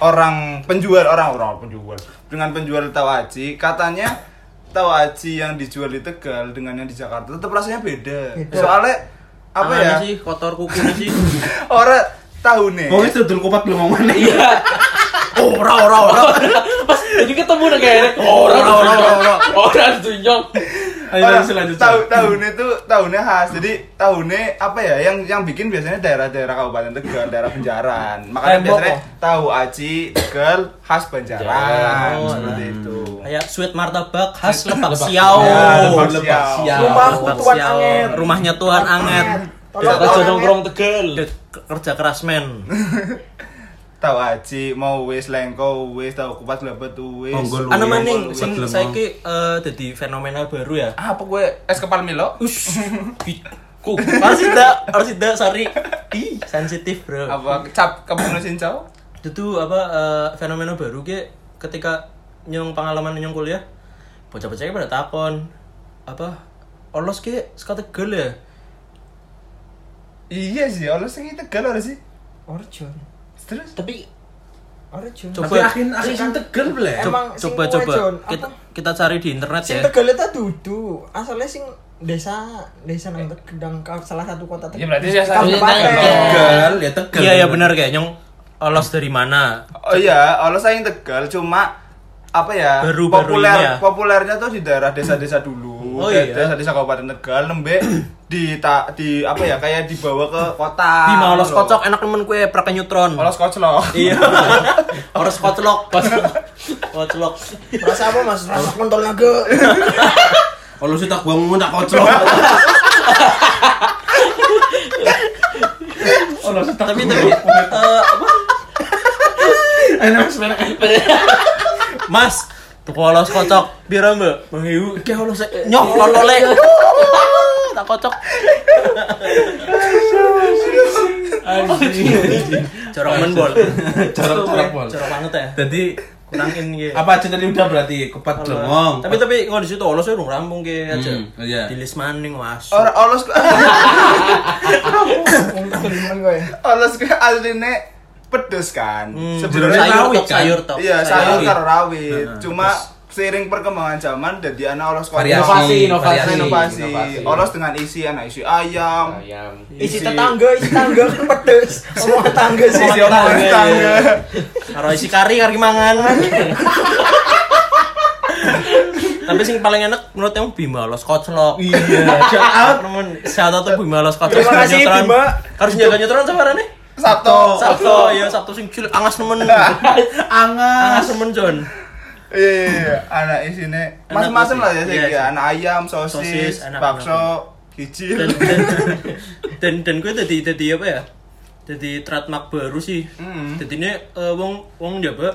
[SPEAKER 3] orang penjual orang orang penjual dengan penjual tahu aci katanya tahu aci yang dijual di Tegal dengan yang di Jakarta tetap rasanya beda. Soalnya apa ya?
[SPEAKER 1] sih kotor kukunya sih
[SPEAKER 3] Orang tahu nih.
[SPEAKER 4] Wongnya sudah dulu kupat belum ngomong Oh, nih
[SPEAKER 1] ora ora ora
[SPEAKER 2] Pas jadi ketemu nih kayaknya. Orang orang orang orang tunjong.
[SPEAKER 4] ayo
[SPEAKER 3] Orang
[SPEAKER 4] terus lanjut
[SPEAKER 3] Tahu tahunnya itu tahunnya khas. Jadi tahunnya apa ya yang yang bikin biasanya daerah-daerah Kabupaten Tegal, daerah Banjaran. Makanya
[SPEAKER 4] Eh,
[SPEAKER 5] Tembok,
[SPEAKER 3] biasanya
[SPEAKER 5] oh.
[SPEAKER 3] tahu aci Tegal khas Banjaran
[SPEAKER 1] Banjaran.
[SPEAKER 3] seperti itu.
[SPEAKER 1] kayak sweet martabak khas lepak
[SPEAKER 2] Lebak
[SPEAKER 1] siau
[SPEAKER 3] Ya,
[SPEAKER 4] Oh,
[SPEAKER 3] Lebak
[SPEAKER 4] lepas
[SPEAKER 3] Siau.
[SPEAKER 4] siap.
[SPEAKER 5] Rumahku
[SPEAKER 1] Lebak
[SPEAKER 5] Tuan
[SPEAKER 1] Siau.
[SPEAKER 5] Anget.
[SPEAKER 1] rumahnya Tuhan Anget
[SPEAKER 5] Tolong
[SPEAKER 2] Kita
[SPEAKER 5] orang
[SPEAKER 2] nongkrong tegal.
[SPEAKER 1] Ke- kerja keras men
[SPEAKER 3] Tahu aci mau wis lengko wis tahu kupat lebet wis.
[SPEAKER 4] Bonggol,
[SPEAKER 1] anu
[SPEAKER 4] Iya,
[SPEAKER 1] maning
[SPEAKER 4] iya,
[SPEAKER 1] sing
[SPEAKER 4] iya.
[SPEAKER 1] saiki eh, dadi fenomena baru ya
[SPEAKER 3] Ah, apa gue es kepal Milo?
[SPEAKER 1] ush bi- ku harus tidak harus tidak sari Ih, sensitif bro
[SPEAKER 3] Apa cap kamu sincau?
[SPEAKER 1] itu tuh apa eh, fenomena baru ke ketika nyong pengalaman nyong kuliah bocah-bocahnya pada takon apa olos ke sekat tegel ya
[SPEAKER 3] Iya sih, oleh sing Tegal ora sih.
[SPEAKER 5] Orjon.
[SPEAKER 3] Terus
[SPEAKER 2] Tapi
[SPEAKER 5] Orjon.
[SPEAKER 1] Coba.
[SPEAKER 4] tapi akhir akhir sing Tegal boleh
[SPEAKER 5] Em- Emang sing
[SPEAKER 1] coba
[SPEAKER 5] kue,
[SPEAKER 1] coba
[SPEAKER 5] Jon,
[SPEAKER 1] kita,
[SPEAKER 5] apa?
[SPEAKER 1] kita cari di internet
[SPEAKER 5] Sing
[SPEAKER 1] ya
[SPEAKER 5] Tegal itu dudu. Asalnya sing desa desa nang Tegal salah satu kota Tegal.
[SPEAKER 3] saya
[SPEAKER 5] Kabupaten.
[SPEAKER 4] Tegal ya Tegal
[SPEAKER 1] iya iya benar kayak nyong olos dari mana
[SPEAKER 3] Oh iya, Allah saya yang Tegal cuma apa ya?
[SPEAKER 1] Baru-baru
[SPEAKER 3] populer
[SPEAKER 1] ini ya?
[SPEAKER 3] populernya tuh di daerah desa-desa dulu.
[SPEAKER 1] Oh
[SPEAKER 3] da-
[SPEAKER 1] iya.
[SPEAKER 3] Desa-desa Kabupaten Tegal nembe di ta, di apa ya? Kayak dibawa ke kota.
[SPEAKER 5] Ah,
[SPEAKER 3] gitu
[SPEAKER 1] di mau olos
[SPEAKER 3] Loh.
[SPEAKER 1] kocok enak nemen kue pakai neutron
[SPEAKER 3] Olos koclok.
[SPEAKER 1] iya olos koclok koclok
[SPEAKER 5] Rasa apa Mas? Rasa kontol naga.
[SPEAKER 4] kalau sih tak bangun tak kocok kalau sih tak
[SPEAKER 1] tapi tapi eh, apa?
[SPEAKER 4] enak sebenarnya
[SPEAKER 1] mas tuku olos kocok biar mbak menghiu kayak olos Eh, nyok lolole tak kocok Jorok men bol.
[SPEAKER 4] Jorok, jorok, Bol.
[SPEAKER 1] Jorok Eh, banget ya.
[SPEAKER 4] jadi
[SPEAKER 1] Kurangin gitu.
[SPEAKER 4] apa aja tadi udah berarti kupat belum
[SPEAKER 1] Tapi tapi kalau di situ olos ya udah rampung ge aja.
[SPEAKER 4] Hmm, iya.
[SPEAKER 1] Di list maning mas.
[SPEAKER 3] Ora olos
[SPEAKER 5] Tegelan kowe.
[SPEAKER 3] olos ke asline pedes kan.
[SPEAKER 1] Hmm,
[SPEAKER 3] Sebenarnya
[SPEAKER 1] sayur
[SPEAKER 4] rawit
[SPEAKER 1] tok,
[SPEAKER 4] kan?
[SPEAKER 1] sayur tok.
[SPEAKER 3] iya, sayur
[SPEAKER 4] sayur.
[SPEAKER 3] karo rawit. Cuma seiring perkembangan zaman jadi anak olos kocok.
[SPEAKER 4] Variasi,
[SPEAKER 3] Inovasi,
[SPEAKER 4] inovasi,
[SPEAKER 3] inovasi, Oh.
[SPEAKER 2] inovasi.
[SPEAKER 3] Olos dengan isi anak isi ayam.
[SPEAKER 2] Ayam.
[SPEAKER 5] Isi tetangga, isi tangga kan pedes. Semua tangga sih.
[SPEAKER 3] Isi orang tetangga.
[SPEAKER 1] Karo isi kari kari mangan. Tapi sing paling enak menurut kamu Bima Los Koclok. Iya, shout out. Temen, shout out tuh Bima Los Koclok.
[SPEAKER 5] Terima kasih,
[SPEAKER 1] Nyetron.
[SPEAKER 5] Bima.
[SPEAKER 1] Harus jaga nyetron sama Rane.
[SPEAKER 3] Sabto.
[SPEAKER 1] Sabtu, ya Sabtu sing cilik angas nemen. Angas nemen, Jon.
[SPEAKER 3] Iya, iya, iya. anak isinya macam-macam lah ya
[SPEAKER 1] Iya,
[SPEAKER 3] sih,
[SPEAKER 1] iya.
[SPEAKER 3] anak ayam, sosis,
[SPEAKER 1] Sosis, anak-
[SPEAKER 3] bakso, hijil.
[SPEAKER 1] Dan dan dan, dan gue tadi tadi apa ya? Jadi trademark baru sih.
[SPEAKER 3] Hmm.
[SPEAKER 1] Jadi ini eh, wong wong Jawa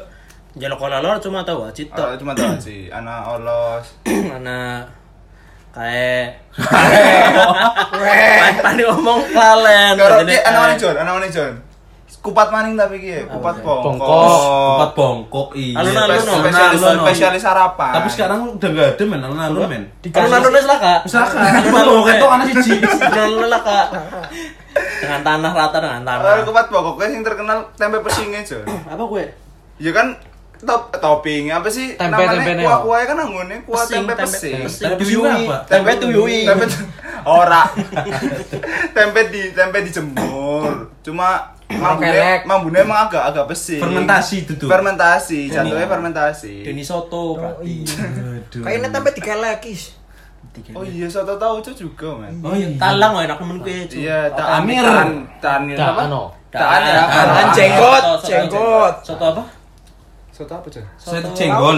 [SPEAKER 1] jalak kolalor cuma tahu cita.
[SPEAKER 3] Oh, cuma tahu sih, anak olos.
[SPEAKER 1] mana kayak kayak tadi omong kalen
[SPEAKER 3] Kalau
[SPEAKER 1] Jadi
[SPEAKER 3] ki anak
[SPEAKER 1] kae.
[SPEAKER 3] maning John, anak maning John. Kupat maning tapi ki, kupat bongkok.
[SPEAKER 4] bongkok kupat bongkok iya
[SPEAKER 1] Oh. Alun-alun,
[SPEAKER 3] Spes-
[SPEAKER 1] Alun-alun.
[SPEAKER 3] Spesialis
[SPEAKER 4] Alun-alun.
[SPEAKER 3] spesialis sarapan.
[SPEAKER 4] tapi sekarang udah gak ada men alun-alun men
[SPEAKER 1] kalau nanone lah kak
[SPEAKER 4] misalkan kupat bongkok itu anak siji
[SPEAKER 1] nanone lah kak dengan tanah rata dengan tanah
[SPEAKER 3] Kalau kupat bongkok kan yang terkenal tempe pesingnya John.
[SPEAKER 1] apa gue
[SPEAKER 3] Ya kan top topping apa sih
[SPEAKER 2] Tempe- tempe neo.
[SPEAKER 3] kuah kuah kan anggone kuah tempe pesing.
[SPEAKER 4] Tempe
[SPEAKER 1] duyui.
[SPEAKER 4] pesing apa?
[SPEAKER 1] tempe tuyui
[SPEAKER 3] tempe ora tempe di tempe dijemur cuma mambune mambune emang agak agak besi
[SPEAKER 4] Fermentasi itu tuh.
[SPEAKER 3] fermentasi jatuhnya fermentasi
[SPEAKER 1] Deni Soto berarti
[SPEAKER 5] Kayaknya tempe dikelek is.
[SPEAKER 3] oh iya soto tauco juga man
[SPEAKER 4] oh iya
[SPEAKER 1] talang wah enak temen gue cuy.
[SPEAKER 3] iya tak
[SPEAKER 4] Tamir.
[SPEAKER 3] tanir Ya, apa
[SPEAKER 2] Daano.
[SPEAKER 3] taan ya
[SPEAKER 1] Taan.
[SPEAKER 5] Taan jenggot, jenggot.
[SPEAKER 1] Soto apa?
[SPEAKER 3] soto apa cuy
[SPEAKER 4] saya
[SPEAKER 1] Senggol.
[SPEAKER 4] cenggol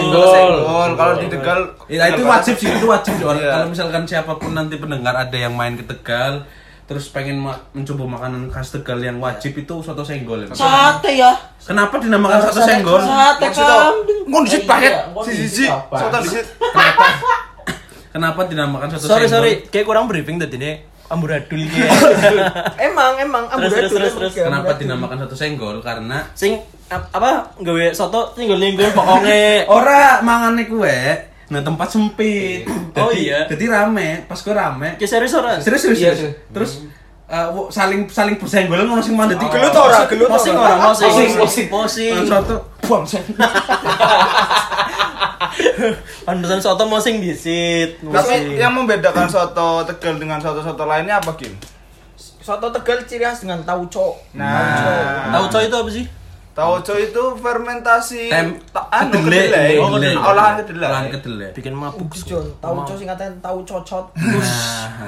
[SPEAKER 2] Senggol.
[SPEAKER 3] senggol kalau di tegal
[SPEAKER 4] Ya, itu wajib sih, itu wajib sih. Orang-
[SPEAKER 3] Iya.
[SPEAKER 4] Kalau misalkan siapapun nanti pendengar ada yang main ke Tegal, terus pengen ma- mencoba makanan khas Tegal yang wajib itu soto senggol ya. Pak?
[SPEAKER 6] Sate ya.
[SPEAKER 4] Kenapa dinamakan soto senggol?
[SPEAKER 6] Sate kambing.
[SPEAKER 3] Ngon disit paket.
[SPEAKER 6] Iya, ngon
[SPEAKER 3] Si si
[SPEAKER 6] disit
[SPEAKER 3] si.
[SPEAKER 6] apa?
[SPEAKER 3] Soto disit.
[SPEAKER 4] Kenapa dinamakan soto
[SPEAKER 1] sorry
[SPEAKER 4] senggol?
[SPEAKER 1] sorry kayak kurang briefing tadi ini amburadul ya
[SPEAKER 5] Emang emang amburadul.
[SPEAKER 1] terus, terus, terus.
[SPEAKER 4] Kenapa dinamakan soto senggol? Karena
[SPEAKER 1] sing ap- apa nggawe soto nyenggol nyenggol pokoknya
[SPEAKER 4] Oh. ora mangane kue nah tempat sempit.
[SPEAKER 1] Oh,
[SPEAKER 4] Jadi-
[SPEAKER 1] iya.
[SPEAKER 4] Jadi rame, pas kue rame.
[SPEAKER 1] kayak serius ora
[SPEAKER 4] Serius serius.
[SPEAKER 6] Iya,
[SPEAKER 4] serius.
[SPEAKER 6] serius.
[SPEAKER 4] Terus eh, wo- saling saling bersenggol ngono sing mandek oh,
[SPEAKER 5] Gelut ora, gelut
[SPEAKER 1] posing
[SPEAKER 5] ora.
[SPEAKER 1] ora posing
[SPEAKER 6] Posing,
[SPEAKER 1] posing posing
[SPEAKER 4] Soto bangsa.
[SPEAKER 1] pandusan soto mosing disit
[SPEAKER 3] Tapi
[SPEAKER 1] mosing.
[SPEAKER 3] yang membedakan soto Tegal dengan soto-soto lainnya apa, Kim?
[SPEAKER 5] Soto Tegal ciri khas dengan tauco.
[SPEAKER 3] Nah,
[SPEAKER 1] tahu coy itu apa sih
[SPEAKER 3] Tauco itu fermentasi
[SPEAKER 4] Tem-
[SPEAKER 3] ta- anu kedelai,
[SPEAKER 4] kedelai, kedelai.
[SPEAKER 3] Oh, kedelai. olahan kedelai.
[SPEAKER 4] Olahan kedelai.
[SPEAKER 1] bikin mabuk
[SPEAKER 5] John, tauco singkatan tau cocot.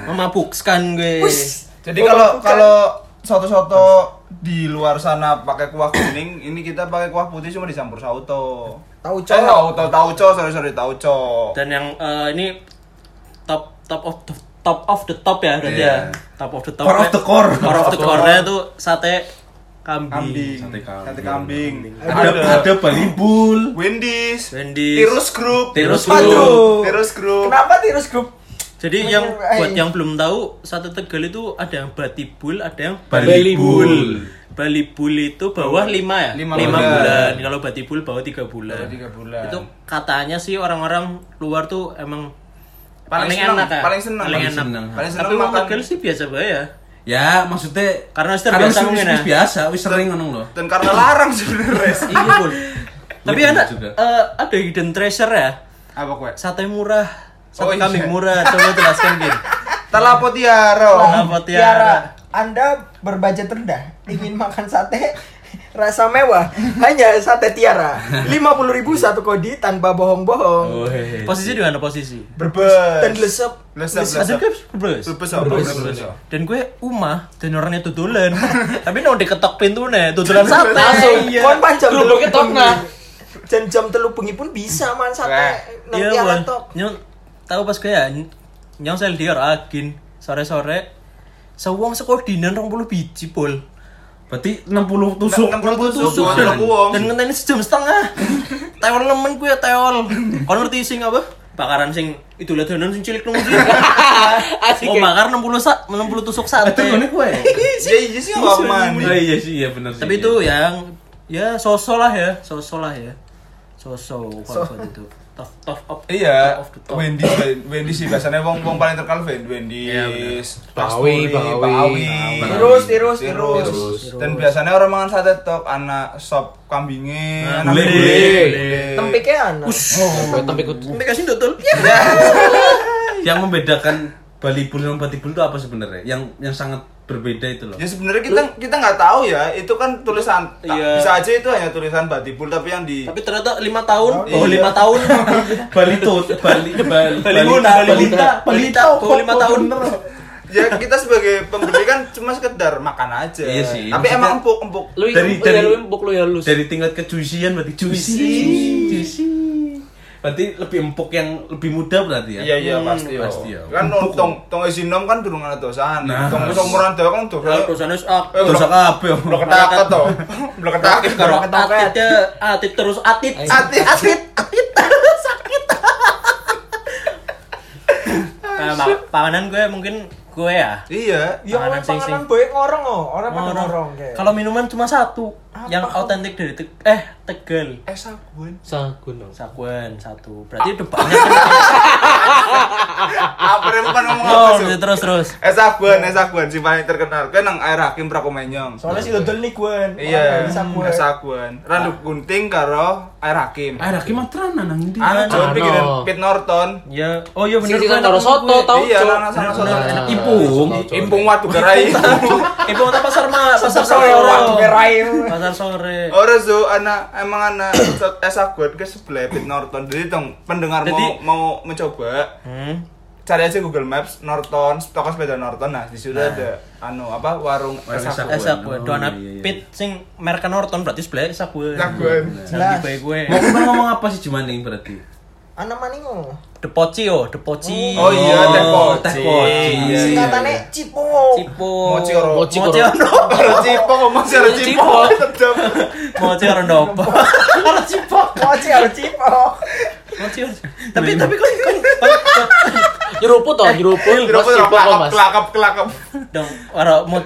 [SPEAKER 1] memabukkan Ah, gue
[SPEAKER 5] Wis.
[SPEAKER 3] Jadi kalau kalau soto-soto di luar sana pakai kuah kuning, ini kita pakai kuah putih cuma dicampur sauto.
[SPEAKER 5] Tauco.
[SPEAKER 3] Eh, sauto tauco, sorry sorry tauco.
[SPEAKER 1] dan yang eh, ini top top of the top of the top ya berarti ya
[SPEAKER 4] Iya.
[SPEAKER 1] top of the top
[SPEAKER 4] Core of the core.
[SPEAKER 1] core of the core-nya tuh sate kambing
[SPEAKER 3] Kambing.
[SPEAKER 4] Sate kambing.
[SPEAKER 3] Sate kambing.
[SPEAKER 4] Ada ada Bali Bul.
[SPEAKER 3] Wendy's.
[SPEAKER 1] Wendy's.
[SPEAKER 3] Tirus Group.
[SPEAKER 4] Tirus
[SPEAKER 5] Group.
[SPEAKER 3] Tirus Group.
[SPEAKER 5] Kenapa tirus grup?
[SPEAKER 1] Jadi yang
[SPEAKER 5] Menyerupai.
[SPEAKER 1] buat yang belum tahu sate Tegal itu ada yang batibul, ada yang
[SPEAKER 4] Bali Bul.
[SPEAKER 1] balibul itu bawah 5 ya?
[SPEAKER 3] Lima
[SPEAKER 1] 5 bulan.
[SPEAKER 3] bulan.
[SPEAKER 1] Kalau batibul bawah 3 bulan.
[SPEAKER 3] Bawah tiga bulan.
[SPEAKER 1] Itu katanya sih orang-orang luar tuh emang
[SPEAKER 3] Paling seneng,
[SPEAKER 1] enak ya?
[SPEAKER 3] paling seneng.
[SPEAKER 1] Paling,
[SPEAKER 4] Paling
[SPEAKER 1] enak.
[SPEAKER 4] seneng.
[SPEAKER 3] Paling seneng
[SPEAKER 1] Tapi orang
[SPEAKER 3] makan-
[SPEAKER 1] Tegal sih biasa bae ya.
[SPEAKER 4] Ya, maksudnya
[SPEAKER 1] Karena wis terbiasa
[SPEAKER 4] wis-
[SPEAKER 1] mungkin
[SPEAKER 4] wis- wis
[SPEAKER 1] ya.
[SPEAKER 4] biasa, wis sering ngono lho.
[SPEAKER 3] Dan karena larang sebenarnya.
[SPEAKER 1] Iya, Bul. Tapi
[SPEAKER 4] Iya,
[SPEAKER 1] ada
[SPEAKER 4] juga.
[SPEAKER 1] eh, ada hidden treasure ya.
[SPEAKER 3] Apa kue?
[SPEAKER 1] Sate murah, sate
[SPEAKER 3] Oh, iya.
[SPEAKER 1] kambing murah. Coba jelaskan, Gin.
[SPEAKER 3] Telapo Tiaro.
[SPEAKER 1] Kenapa
[SPEAKER 5] Tiara,
[SPEAKER 1] Tiara?
[SPEAKER 5] Anda berbudget rendah, ingin makan sate rasa mewah, hanya sate Tiara. 50.000 satu kodi tanpa
[SPEAKER 4] Oh.
[SPEAKER 5] bohong-bohong.
[SPEAKER 1] Posisi di mana posisi?
[SPEAKER 5] Dan
[SPEAKER 3] Berbes.
[SPEAKER 5] lesep.
[SPEAKER 3] Lesep,
[SPEAKER 1] Ada
[SPEAKER 3] lesep.
[SPEAKER 1] gue berbes.
[SPEAKER 3] Berbes apa? Berbes.
[SPEAKER 1] dan gue umah dan orangnya tutulan tapi nang diketok pintu nih tutulan sate
[SPEAKER 5] Langsung
[SPEAKER 1] Iya.
[SPEAKER 5] kon panjang
[SPEAKER 6] Gerobaknya tok, nah.
[SPEAKER 5] Dan jam telu bengi pun bisa man
[SPEAKER 3] Wah.
[SPEAKER 5] sate nang
[SPEAKER 1] iya
[SPEAKER 5] Tiara
[SPEAKER 1] Bon.
[SPEAKER 5] tok.
[SPEAKER 1] nyong tahu pas gue ya ny- nyong sel dior agin sore sore sewong seko dinan rong puluh biji pol
[SPEAKER 4] Berarti 60 tusuk.
[SPEAKER 3] 60 tusuk.
[SPEAKER 4] tusuk.
[SPEAKER 3] Tusuk uang.
[SPEAKER 1] dan ngenteni sejam setengah teol nemen gue teol kon ngerti sing apa bakaran sing itu lihat sing cilik nunggu
[SPEAKER 6] Asik.
[SPEAKER 1] mau bakar 60 sa 60 tusuk sate
[SPEAKER 4] Itu ngene kowe.
[SPEAKER 3] Iya iya sih nggak aman.
[SPEAKER 4] Oh iya sih, iya bener sih.
[SPEAKER 1] tapi itu yang ya sosok lah ya sosok lah ya sosok kalau buat itu tough tough up Top
[SPEAKER 3] Iya,
[SPEAKER 1] of the top.
[SPEAKER 3] Wendy, Wendy sih biasanya wong wong paling terkenal Wendy,
[SPEAKER 1] Iya,
[SPEAKER 3] Wendy's,
[SPEAKER 2] Bakawi,
[SPEAKER 3] Bakawi,
[SPEAKER 2] Bakawi.
[SPEAKER 5] Terus, terus, terus.
[SPEAKER 3] Dan biasanya orang makan sate tok anak sop kambingnya,
[SPEAKER 1] Nah,
[SPEAKER 3] anak
[SPEAKER 1] bule.
[SPEAKER 3] bule.
[SPEAKER 5] Tempiknya ana.
[SPEAKER 2] Oh, Tapi ku
[SPEAKER 1] Nanti kasih dodol. iya.
[SPEAKER 4] yang membedakan Bali Bul dan Bali Bul itu apa sebenarnya? Yang yang sangat berbeda itu loh.
[SPEAKER 3] Ya sebenarnya kita kita nggak tahu ya, itu kan tulisan tak-
[SPEAKER 1] Iya.
[SPEAKER 3] bisa aja itu hanya tulisan Batibul tapi yang di
[SPEAKER 1] Tapi ternyata lima tahun, oh
[SPEAKER 3] Iya.
[SPEAKER 1] lima tahun,
[SPEAKER 4] Bali Tut, Bali Bali
[SPEAKER 1] Balita, Balita, Balita, oh, lima tahun.
[SPEAKER 3] ya kita sebagai pembeli kan cuma sekedar makan aja.
[SPEAKER 4] Iya sih,
[SPEAKER 3] Tapi
[SPEAKER 4] maksudnya-
[SPEAKER 3] emang empuk empuk.
[SPEAKER 6] lu
[SPEAKER 4] Dari-
[SPEAKER 6] dari
[SPEAKER 4] dari-
[SPEAKER 6] dari lu empuk lu ya lu.
[SPEAKER 4] Dari tingkat kejuisian berarti juicy. Juicy. Berarti lebih empuk yang lebih muda berarti ya.
[SPEAKER 3] Iya iya pasti yo.
[SPEAKER 4] pasti, ya yo.
[SPEAKER 3] Kan tong tong tong isinom kan durung ana dosaan.
[SPEAKER 4] Nah.
[SPEAKER 3] Tong wis umuran dhewe kan durung.
[SPEAKER 1] Kalau dosannya ak,
[SPEAKER 4] Terus apa ya?
[SPEAKER 3] Blok ketaket to. Blok ketaket karo
[SPEAKER 1] kalau atitnya atit terus atit,
[SPEAKER 3] Atit, atit.
[SPEAKER 1] Nah, mak- panganan gue mungkin gue ya.
[SPEAKER 3] Iya.
[SPEAKER 5] Ya
[SPEAKER 1] Panganan
[SPEAKER 5] oleh
[SPEAKER 1] sing-
[SPEAKER 5] panganan boy ngorong oh, orang pada
[SPEAKER 1] Ngorong.
[SPEAKER 5] ngorong kayak.
[SPEAKER 1] Kalau minuman cuma satu,
[SPEAKER 5] Apa?
[SPEAKER 1] yang autentik dari Teg- eh Tegal.
[SPEAKER 3] Eh sabun.
[SPEAKER 2] Sagun dong.
[SPEAKER 1] Sakuen satu, berarti udah banyak. kan?
[SPEAKER 3] Apa yang bukan ngomong apa
[SPEAKER 1] Oh,
[SPEAKER 3] sih?
[SPEAKER 1] terus terus.
[SPEAKER 3] Eh sabun, eh sabun si paling terkenal. Kan nang air hakim prakomenyong.
[SPEAKER 5] Soalnya si Dodol nih gue.
[SPEAKER 3] Iya,
[SPEAKER 5] Bisa gue.
[SPEAKER 3] es sabun. Randuk gunting karo air hakim.
[SPEAKER 4] Ah, laki matrana nang ndi?
[SPEAKER 3] Anu John
[SPEAKER 2] Ano.
[SPEAKER 3] pikiran Pit Norton.
[SPEAKER 1] Ya, oh iya bener.
[SPEAKER 6] Sing
[SPEAKER 1] gue
[SPEAKER 6] kan
[SPEAKER 1] enak
[SPEAKER 6] karo
[SPEAKER 1] temen
[SPEAKER 6] soto
[SPEAKER 1] gue.
[SPEAKER 6] tau.
[SPEAKER 3] Iya,
[SPEAKER 6] Cok.
[SPEAKER 3] nana sana sana.
[SPEAKER 1] Bener, enak.
[SPEAKER 4] Ipung.
[SPEAKER 3] Impung watu gerai.
[SPEAKER 1] Ibu kota pasar ma, pasar sore.
[SPEAKER 5] Orang berair.
[SPEAKER 1] Pasar sore.
[SPEAKER 3] Ora so ana emang ana so- es sabun ke sebelah Pit Norton. Jadi tong pendengar mau
[SPEAKER 1] Jadi-
[SPEAKER 3] mau mencoba
[SPEAKER 1] Hmm.
[SPEAKER 3] cari aja Google Maps Norton toko sepeda Norton nah di situ ada anu apa warung
[SPEAKER 4] Warung
[SPEAKER 3] es sabun.
[SPEAKER 4] Esak.
[SPEAKER 1] Eh Sakuen,
[SPEAKER 4] Oh,
[SPEAKER 1] dona
[SPEAKER 4] iya, iya.
[SPEAKER 1] pit sing merek Norton berarti sebelah Sakuen.
[SPEAKER 3] Sakuen.
[SPEAKER 1] Lebih baik gue.
[SPEAKER 4] Mau kemarin ngomong apa sih cuman yang berarti?
[SPEAKER 5] Anak maningo.
[SPEAKER 1] Depoci yo, Depoci.
[SPEAKER 3] Oh iya, Tepo.
[SPEAKER 4] Iya, iya,
[SPEAKER 5] Singkatannya
[SPEAKER 4] iya.
[SPEAKER 5] Cipo.
[SPEAKER 1] Cipo.
[SPEAKER 3] Moci oro.
[SPEAKER 1] Moci oro.
[SPEAKER 3] Orang cipok ngomong sih orang cipok. Tetep.
[SPEAKER 1] Moci oro ndopo.
[SPEAKER 5] Oh,
[SPEAKER 1] Harus Cipo.
[SPEAKER 5] Moci harus Cipo.
[SPEAKER 1] Moci oro. Tapi tapi kok kok kok-
[SPEAKER 6] Nyeruput toh, nyeruput.
[SPEAKER 3] Terus
[SPEAKER 6] Mas Cipo kok,
[SPEAKER 3] kelakap
[SPEAKER 6] Mas.
[SPEAKER 3] kelakap kelakap.
[SPEAKER 1] dong ora mo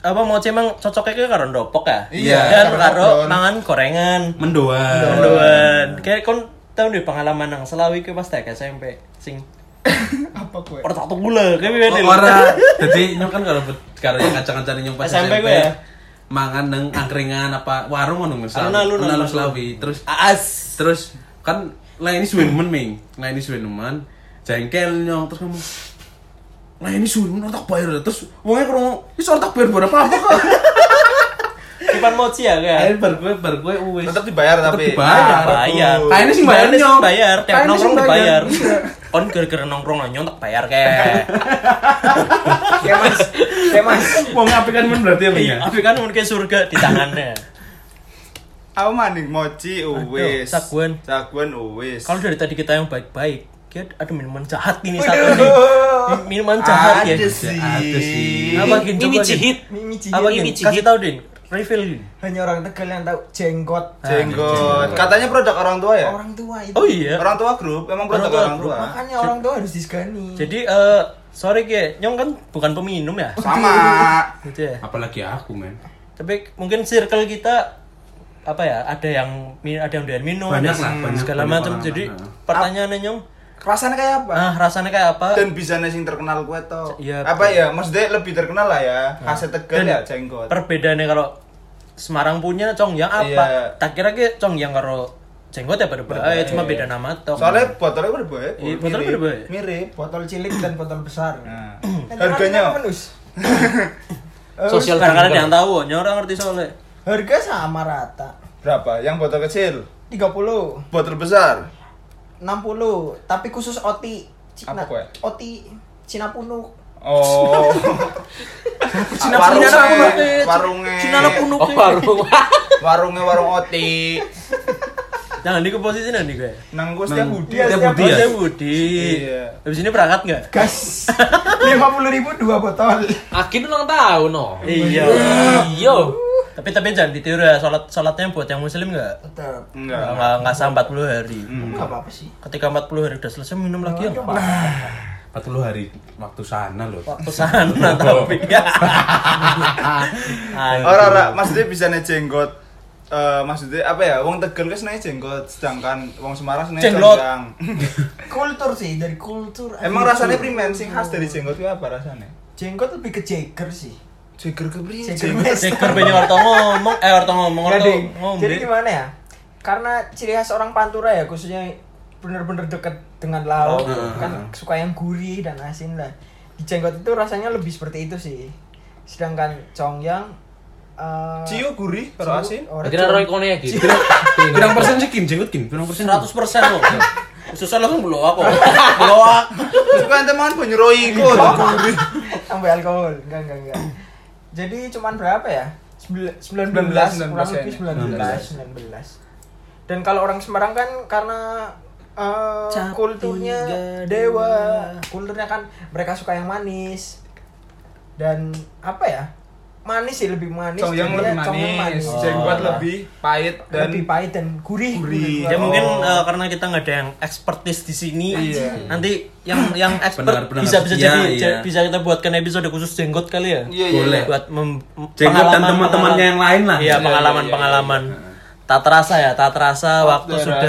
[SPEAKER 1] apa moci emang cocoknya kayak karo ndopok ya?
[SPEAKER 3] Iya,
[SPEAKER 1] Dan
[SPEAKER 3] karo
[SPEAKER 1] karo
[SPEAKER 3] lockdown.
[SPEAKER 1] mangan gorengan.
[SPEAKER 4] Mendoan.
[SPEAKER 1] Mendoan. Kayak kon tau deh pengalaman nang Selawi ke pas tak SMP sing
[SPEAKER 5] Apa gue?
[SPEAKER 1] Orang tak gula, kayak beda
[SPEAKER 4] Oh, ora. Jadi nyong kan kalau karo yang kacang-kacang nyong pas
[SPEAKER 1] SMP
[SPEAKER 4] SMP
[SPEAKER 1] gue ya.
[SPEAKER 4] mangan neng angkringan apa warung ngono misal.
[SPEAKER 1] Alun-alun, alun-alun.
[SPEAKER 4] Selawi. Terus
[SPEAKER 1] As.
[SPEAKER 4] terus kan lah ini suwe nemen ming lah ini suwe nemen jengkel nyong terus ngomong lah ini suwe nemen orang tak bayar terus wongnya kurang wis orang tak bayar berapa apa kok
[SPEAKER 1] Kipan moci ya kayak.
[SPEAKER 4] akhir bar gue bar gue uwes
[SPEAKER 3] Tetep dibayar
[SPEAKER 4] Tetep
[SPEAKER 3] tapi. Nah,
[SPEAKER 4] dibayar.
[SPEAKER 1] bayar.
[SPEAKER 4] Kayak ini sih
[SPEAKER 1] Kayak
[SPEAKER 4] bayar,
[SPEAKER 1] ini sih
[SPEAKER 4] Nyong.
[SPEAKER 1] Bayar, tiap
[SPEAKER 4] Kayak ini sih
[SPEAKER 1] nongkrong dibayar.
[SPEAKER 4] bayar.
[SPEAKER 1] Kon gara-gara nongkrong lah nyong tak bayar kayak.
[SPEAKER 3] Ya,
[SPEAKER 5] Kayak mas. Kayak mas.
[SPEAKER 4] wong apik kan men berarti ya Ming, ya
[SPEAKER 1] Tapi kan mungkin kayak surga di tangannya.
[SPEAKER 3] Aku maning moci
[SPEAKER 1] Aduh,
[SPEAKER 3] uwis.
[SPEAKER 1] saguan.
[SPEAKER 3] Saguan uwis.
[SPEAKER 1] Kalau dari tadi kita yang baik-baik, kayak ada minuman jahat ini satu nih. Min- Minuman jahat
[SPEAKER 3] ada
[SPEAKER 1] ya.
[SPEAKER 3] sih.
[SPEAKER 4] Ada sih.
[SPEAKER 1] Apa gin
[SPEAKER 6] Mimi
[SPEAKER 1] coba gin?
[SPEAKER 6] cihit.
[SPEAKER 5] Mimi Cihit.
[SPEAKER 1] Apa gin?
[SPEAKER 6] Mimi
[SPEAKER 1] Kasih
[SPEAKER 6] cihit.
[SPEAKER 1] tau din. Reveal Gin.
[SPEAKER 5] Hanya orang Tegal yang tahu jenggot. Ah,
[SPEAKER 3] Jenggot. Katanya produk orang tua ya?
[SPEAKER 5] Orang tua itu.
[SPEAKER 1] Oh iya.
[SPEAKER 3] Orang tua grup, emang produk
[SPEAKER 1] Orang tua
[SPEAKER 3] orang
[SPEAKER 1] grup,
[SPEAKER 3] tua.
[SPEAKER 5] Makanya orang tua harus disegani.
[SPEAKER 1] Jadi eh sorry kayak nyong kan bukan peminum ya.
[SPEAKER 3] Sama.
[SPEAKER 1] Gitu ya.
[SPEAKER 4] apalagi aku men
[SPEAKER 1] tapi mungkin circle kita apa ya ada yang mi- ada yang doyan minum
[SPEAKER 4] Banyak
[SPEAKER 1] ada
[SPEAKER 4] lah,
[SPEAKER 1] yang
[SPEAKER 4] banyak-
[SPEAKER 1] segala
[SPEAKER 4] banyak nah.
[SPEAKER 1] macam
[SPEAKER 4] orang,
[SPEAKER 1] jadi
[SPEAKER 4] banyak.
[SPEAKER 1] pertanyaannya nyong
[SPEAKER 5] Rasanya kayak apa?
[SPEAKER 1] ah rasanya kayak apa
[SPEAKER 3] Dan bisa sing terkenal gue toh.
[SPEAKER 1] Iya,
[SPEAKER 3] Apa ya? Maksudnya lebih terkenal lah ya. Khasnya
[SPEAKER 1] Nah.
[SPEAKER 3] Tegal
[SPEAKER 1] Dan
[SPEAKER 3] ya jenggot.
[SPEAKER 1] perbedaannya kalau Semarang punya Congyang apa
[SPEAKER 3] Iya.
[SPEAKER 1] tak kira ke Congyang karo jenggot ya berbeda cuma beda nama tok
[SPEAKER 3] Soalnya botolnya berbeda.
[SPEAKER 1] Iya, botolnya
[SPEAKER 3] Mirip.
[SPEAKER 1] berbeda.
[SPEAKER 3] Mirip.
[SPEAKER 5] Botol cilik dan botol besar.
[SPEAKER 3] Nah.
[SPEAKER 5] Kan
[SPEAKER 3] Harganya
[SPEAKER 5] orang kan menus.
[SPEAKER 6] Sosial
[SPEAKER 1] barangkali ada
[SPEAKER 6] tanggal.
[SPEAKER 1] yang tahu nyong orang ngerti soalnya
[SPEAKER 5] Harga sama rata.
[SPEAKER 3] berapa? Yang botol kecil,
[SPEAKER 5] 30,
[SPEAKER 3] botol besar.
[SPEAKER 5] 60, tapi khusus OT. Cina,
[SPEAKER 3] Apa kue?
[SPEAKER 5] OT Cina punuk.
[SPEAKER 3] Oh.
[SPEAKER 1] Cina
[SPEAKER 3] Cina
[SPEAKER 1] punuk,
[SPEAKER 3] warungnya,
[SPEAKER 1] eh.
[SPEAKER 3] warungnya,
[SPEAKER 1] Cina punuk
[SPEAKER 6] Oh, baru.
[SPEAKER 3] warungnya warung oti.
[SPEAKER 1] jangan di posisi nanti gue
[SPEAKER 3] Nang gue setiap budi.
[SPEAKER 5] Iya, setiap
[SPEAKER 4] Setiap
[SPEAKER 1] Oh,
[SPEAKER 4] Budi ya?
[SPEAKER 1] saya Budi.
[SPEAKER 3] Iya.
[SPEAKER 1] Habis ini berangkat nggak?
[SPEAKER 5] Gas. 50 ribu dua botol.
[SPEAKER 6] Akin ulang tahun, no.
[SPEAKER 1] Iya.
[SPEAKER 6] Iya.
[SPEAKER 1] Tapi tapi jangan ditiru ya. Salat salatnya buat yang muslim nggak?
[SPEAKER 5] Tetap.
[SPEAKER 3] Enggak.
[SPEAKER 1] Nggak nggak sampai 40 hari.
[SPEAKER 5] Enggak apa-apa sih.
[SPEAKER 1] Ketika 40 hari udah selesai minum lagi ya.
[SPEAKER 5] Iya,
[SPEAKER 3] Nah.
[SPEAKER 4] Empat puluh hari waktu sana loh
[SPEAKER 1] Pesan tapi ya.
[SPEAKER 3] Ora ora, maksudnya bisa jenggot. Eh, maksudnya apa ya? Wong Tegal kan senengnya jenggot, sedangkan wong Semarang senengnya
[SPEAKER 1] Jenglot.
[SPEAKER 3] jenggang.
[SPEAKER 5] Kultur sih, dari kultur.
[SPEAKER 3] Emang
[SPEAKER 5] Aduh,
[SPEAKER 3] rasanya
[SPEAKER 5] kultur.
[SPEAKER 3] primen sing khas dari jenggot itu apa rasanya?
[SPEAKER 5] Jenggot lebih ke jeger sih.
[SPEAKER 3] Jeger kepriye?
[SPEAKER 5] Jeger
[SPEAKER 3] Jenggot.
[SPEAKER 5] mes.
[SPEAKER 1] Ceker banyak orang tau ngomong, eh orang tau ngomong, orang tau
[SPEAKER 5] Gading.
[SPEAKER 1] ngombe.
[SPEAKER 5] Jadi gimana ya? Karena ciri khas orang Pantura ya khususnya bener-bener deket dengan laut, kan suka yang gurih dan asin lah. Di jenggot itu rasanya lebih seperti itu sih. Sedangkan congyang eh,
[SPEAKER 3] Ciu gurih karo asin.
[SPEAKER 5] orang
[SPEAKER 6] Kira Roy Kone ya gitu.
[SPEAKER 4] berapa persen sih Kim jenggot Kim berapa persen
[SPEAKER 1] 100 persen loh. Susah langsung blow aku. Blow up.
[SPEAKER 3] Suka ente mangan banyu roi iku.
[SPEAKER 5] sampai alkohol. Enggak, enggak, enggak. Jadi cuman berapa ya? Sembil- 19,
[SPEAKER 3] 19,
[SPEAKER 5] kurang lebih 19, 19. Dan kalau orang Semarang kan karena eh, kulturnya dewa, kulturnya kan mereka suka yang manis. Dan apa ya? Manis sih lebih manis.
[SPEAKER 3] Congyang
[SPEAKER 5] Jadi
[SPEAKER 3] lebih
[SPEAKER 5] ya, congyang
[SPEAKER 3] manis,
[SPEAKER 5] manis.
[SPEAKER 3] jenggot lebih pahit dan
[SPEAKER 5] lebih pahit dan gurih. menurut gua.
[SPEAKER 3] Gurih.
[SPEAKER 1] Ya
[SPEAKER 3] Oh.
[SPEAKER 1] mungkin eh, karena kita nggak ada yang expertise di sini,
[SPEAKER 3] Iya.
[SPEAKER 1] nanti yang yang expert
[SPEAKER 4] Benar-benar.
[SPEAKER 1] bisa bisa
[SPEAKER 4] Iya,
[SPEAKER 1] jadi
[SPEAKER 4] iya.
[SPEAKER 1] bisa kita buatkan episode khusus jenggot kali ya.
[SPEAKER 3] Iya, iya,
[SPEAKER 4] Boleh.
[SPEAKER 1] Buat mem-
[SPEAKER 4] jenggot dan
[SPEAKER 1] pengalaman-
[SPEAKER 4] teman-temannya yang lain lah
[SPEAKER 1] Iya pengalaman pengalaman. Tak terasa ya, tak terasa waktu sudah.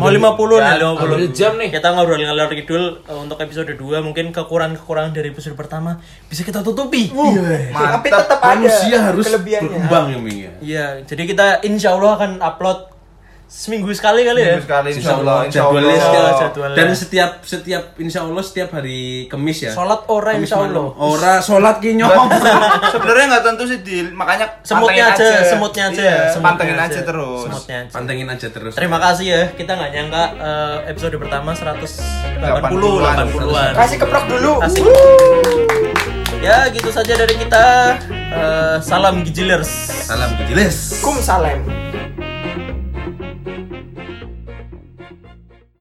[SPEAKER 1] Mau 50 nih, 50
[SPEAKER 6] ambil jam nih.
[SPEAKER 1] Kita ngobrol ngalor kidul eh, untuk episode 2 mungkin kekurangan-kekurangan dari episode pertama bisa kita tutupi.
[SPEAKER 5] Tapi tetap ada
[SPEAKER 4] manusia harus
[SPEAKER 5] kelebihannya.
[SPEAKER 4] berkembang ya Ming ya
[SPEAKER 1] Iya, jadi kita insya Allah akan upload seminggu sekali kali ya.
[SPEAKER 3] Seminggu sekali insyaallah
[SPEAKER 4] jadwalnya
[SPEAKER 3] ya,
[SPEAKER 1] Insyaallah,
[SPEAKER 4] setiap-
[SPEAKER 1] jadwalnya.
[SPEAKER 4] dan setiap setiap insya Allah setiap hari Kamis ya
[SPEAKER 1] Sholat ora
[SPEAKER 4] Kamis
[SPEAKER 1] insya
[SPEAKER 4] malam.
[SPEAKER 1] Allah.
[SPEAKER 4] ora sholat kinyo
[SPEAKER 3] Sebenarnya nggak tentu sih Dil, makanya
[SPEAKER 1] Semutnya
[SPEAKER 3] pantengin
[SPEAKER 1] aja, semutnya aja,
[SPEAKER 3] Iya,
[SPEAKER 1] semutnya
[SPEAKER 3] pantengin aja terus.
[SPEAKER 1] Semutnya aja.
[SPEAKER 4] pantengin aja terus
[SPEAKER 1] Terima kasih ya, kita nggak nyangka eh, episode pertama 180
[SPEAKER 3] 80-an.
[SPEAKER 1] 80-an.
[SPEAKER 5] Kasih keprok dulu.
[SPEAKER 1] Kasih. Ya, gitu saja dari kita. Eh, salam Gijilers.
[SPEAKER 4] salam kejelas
[SPEAKER 5] Kum salem.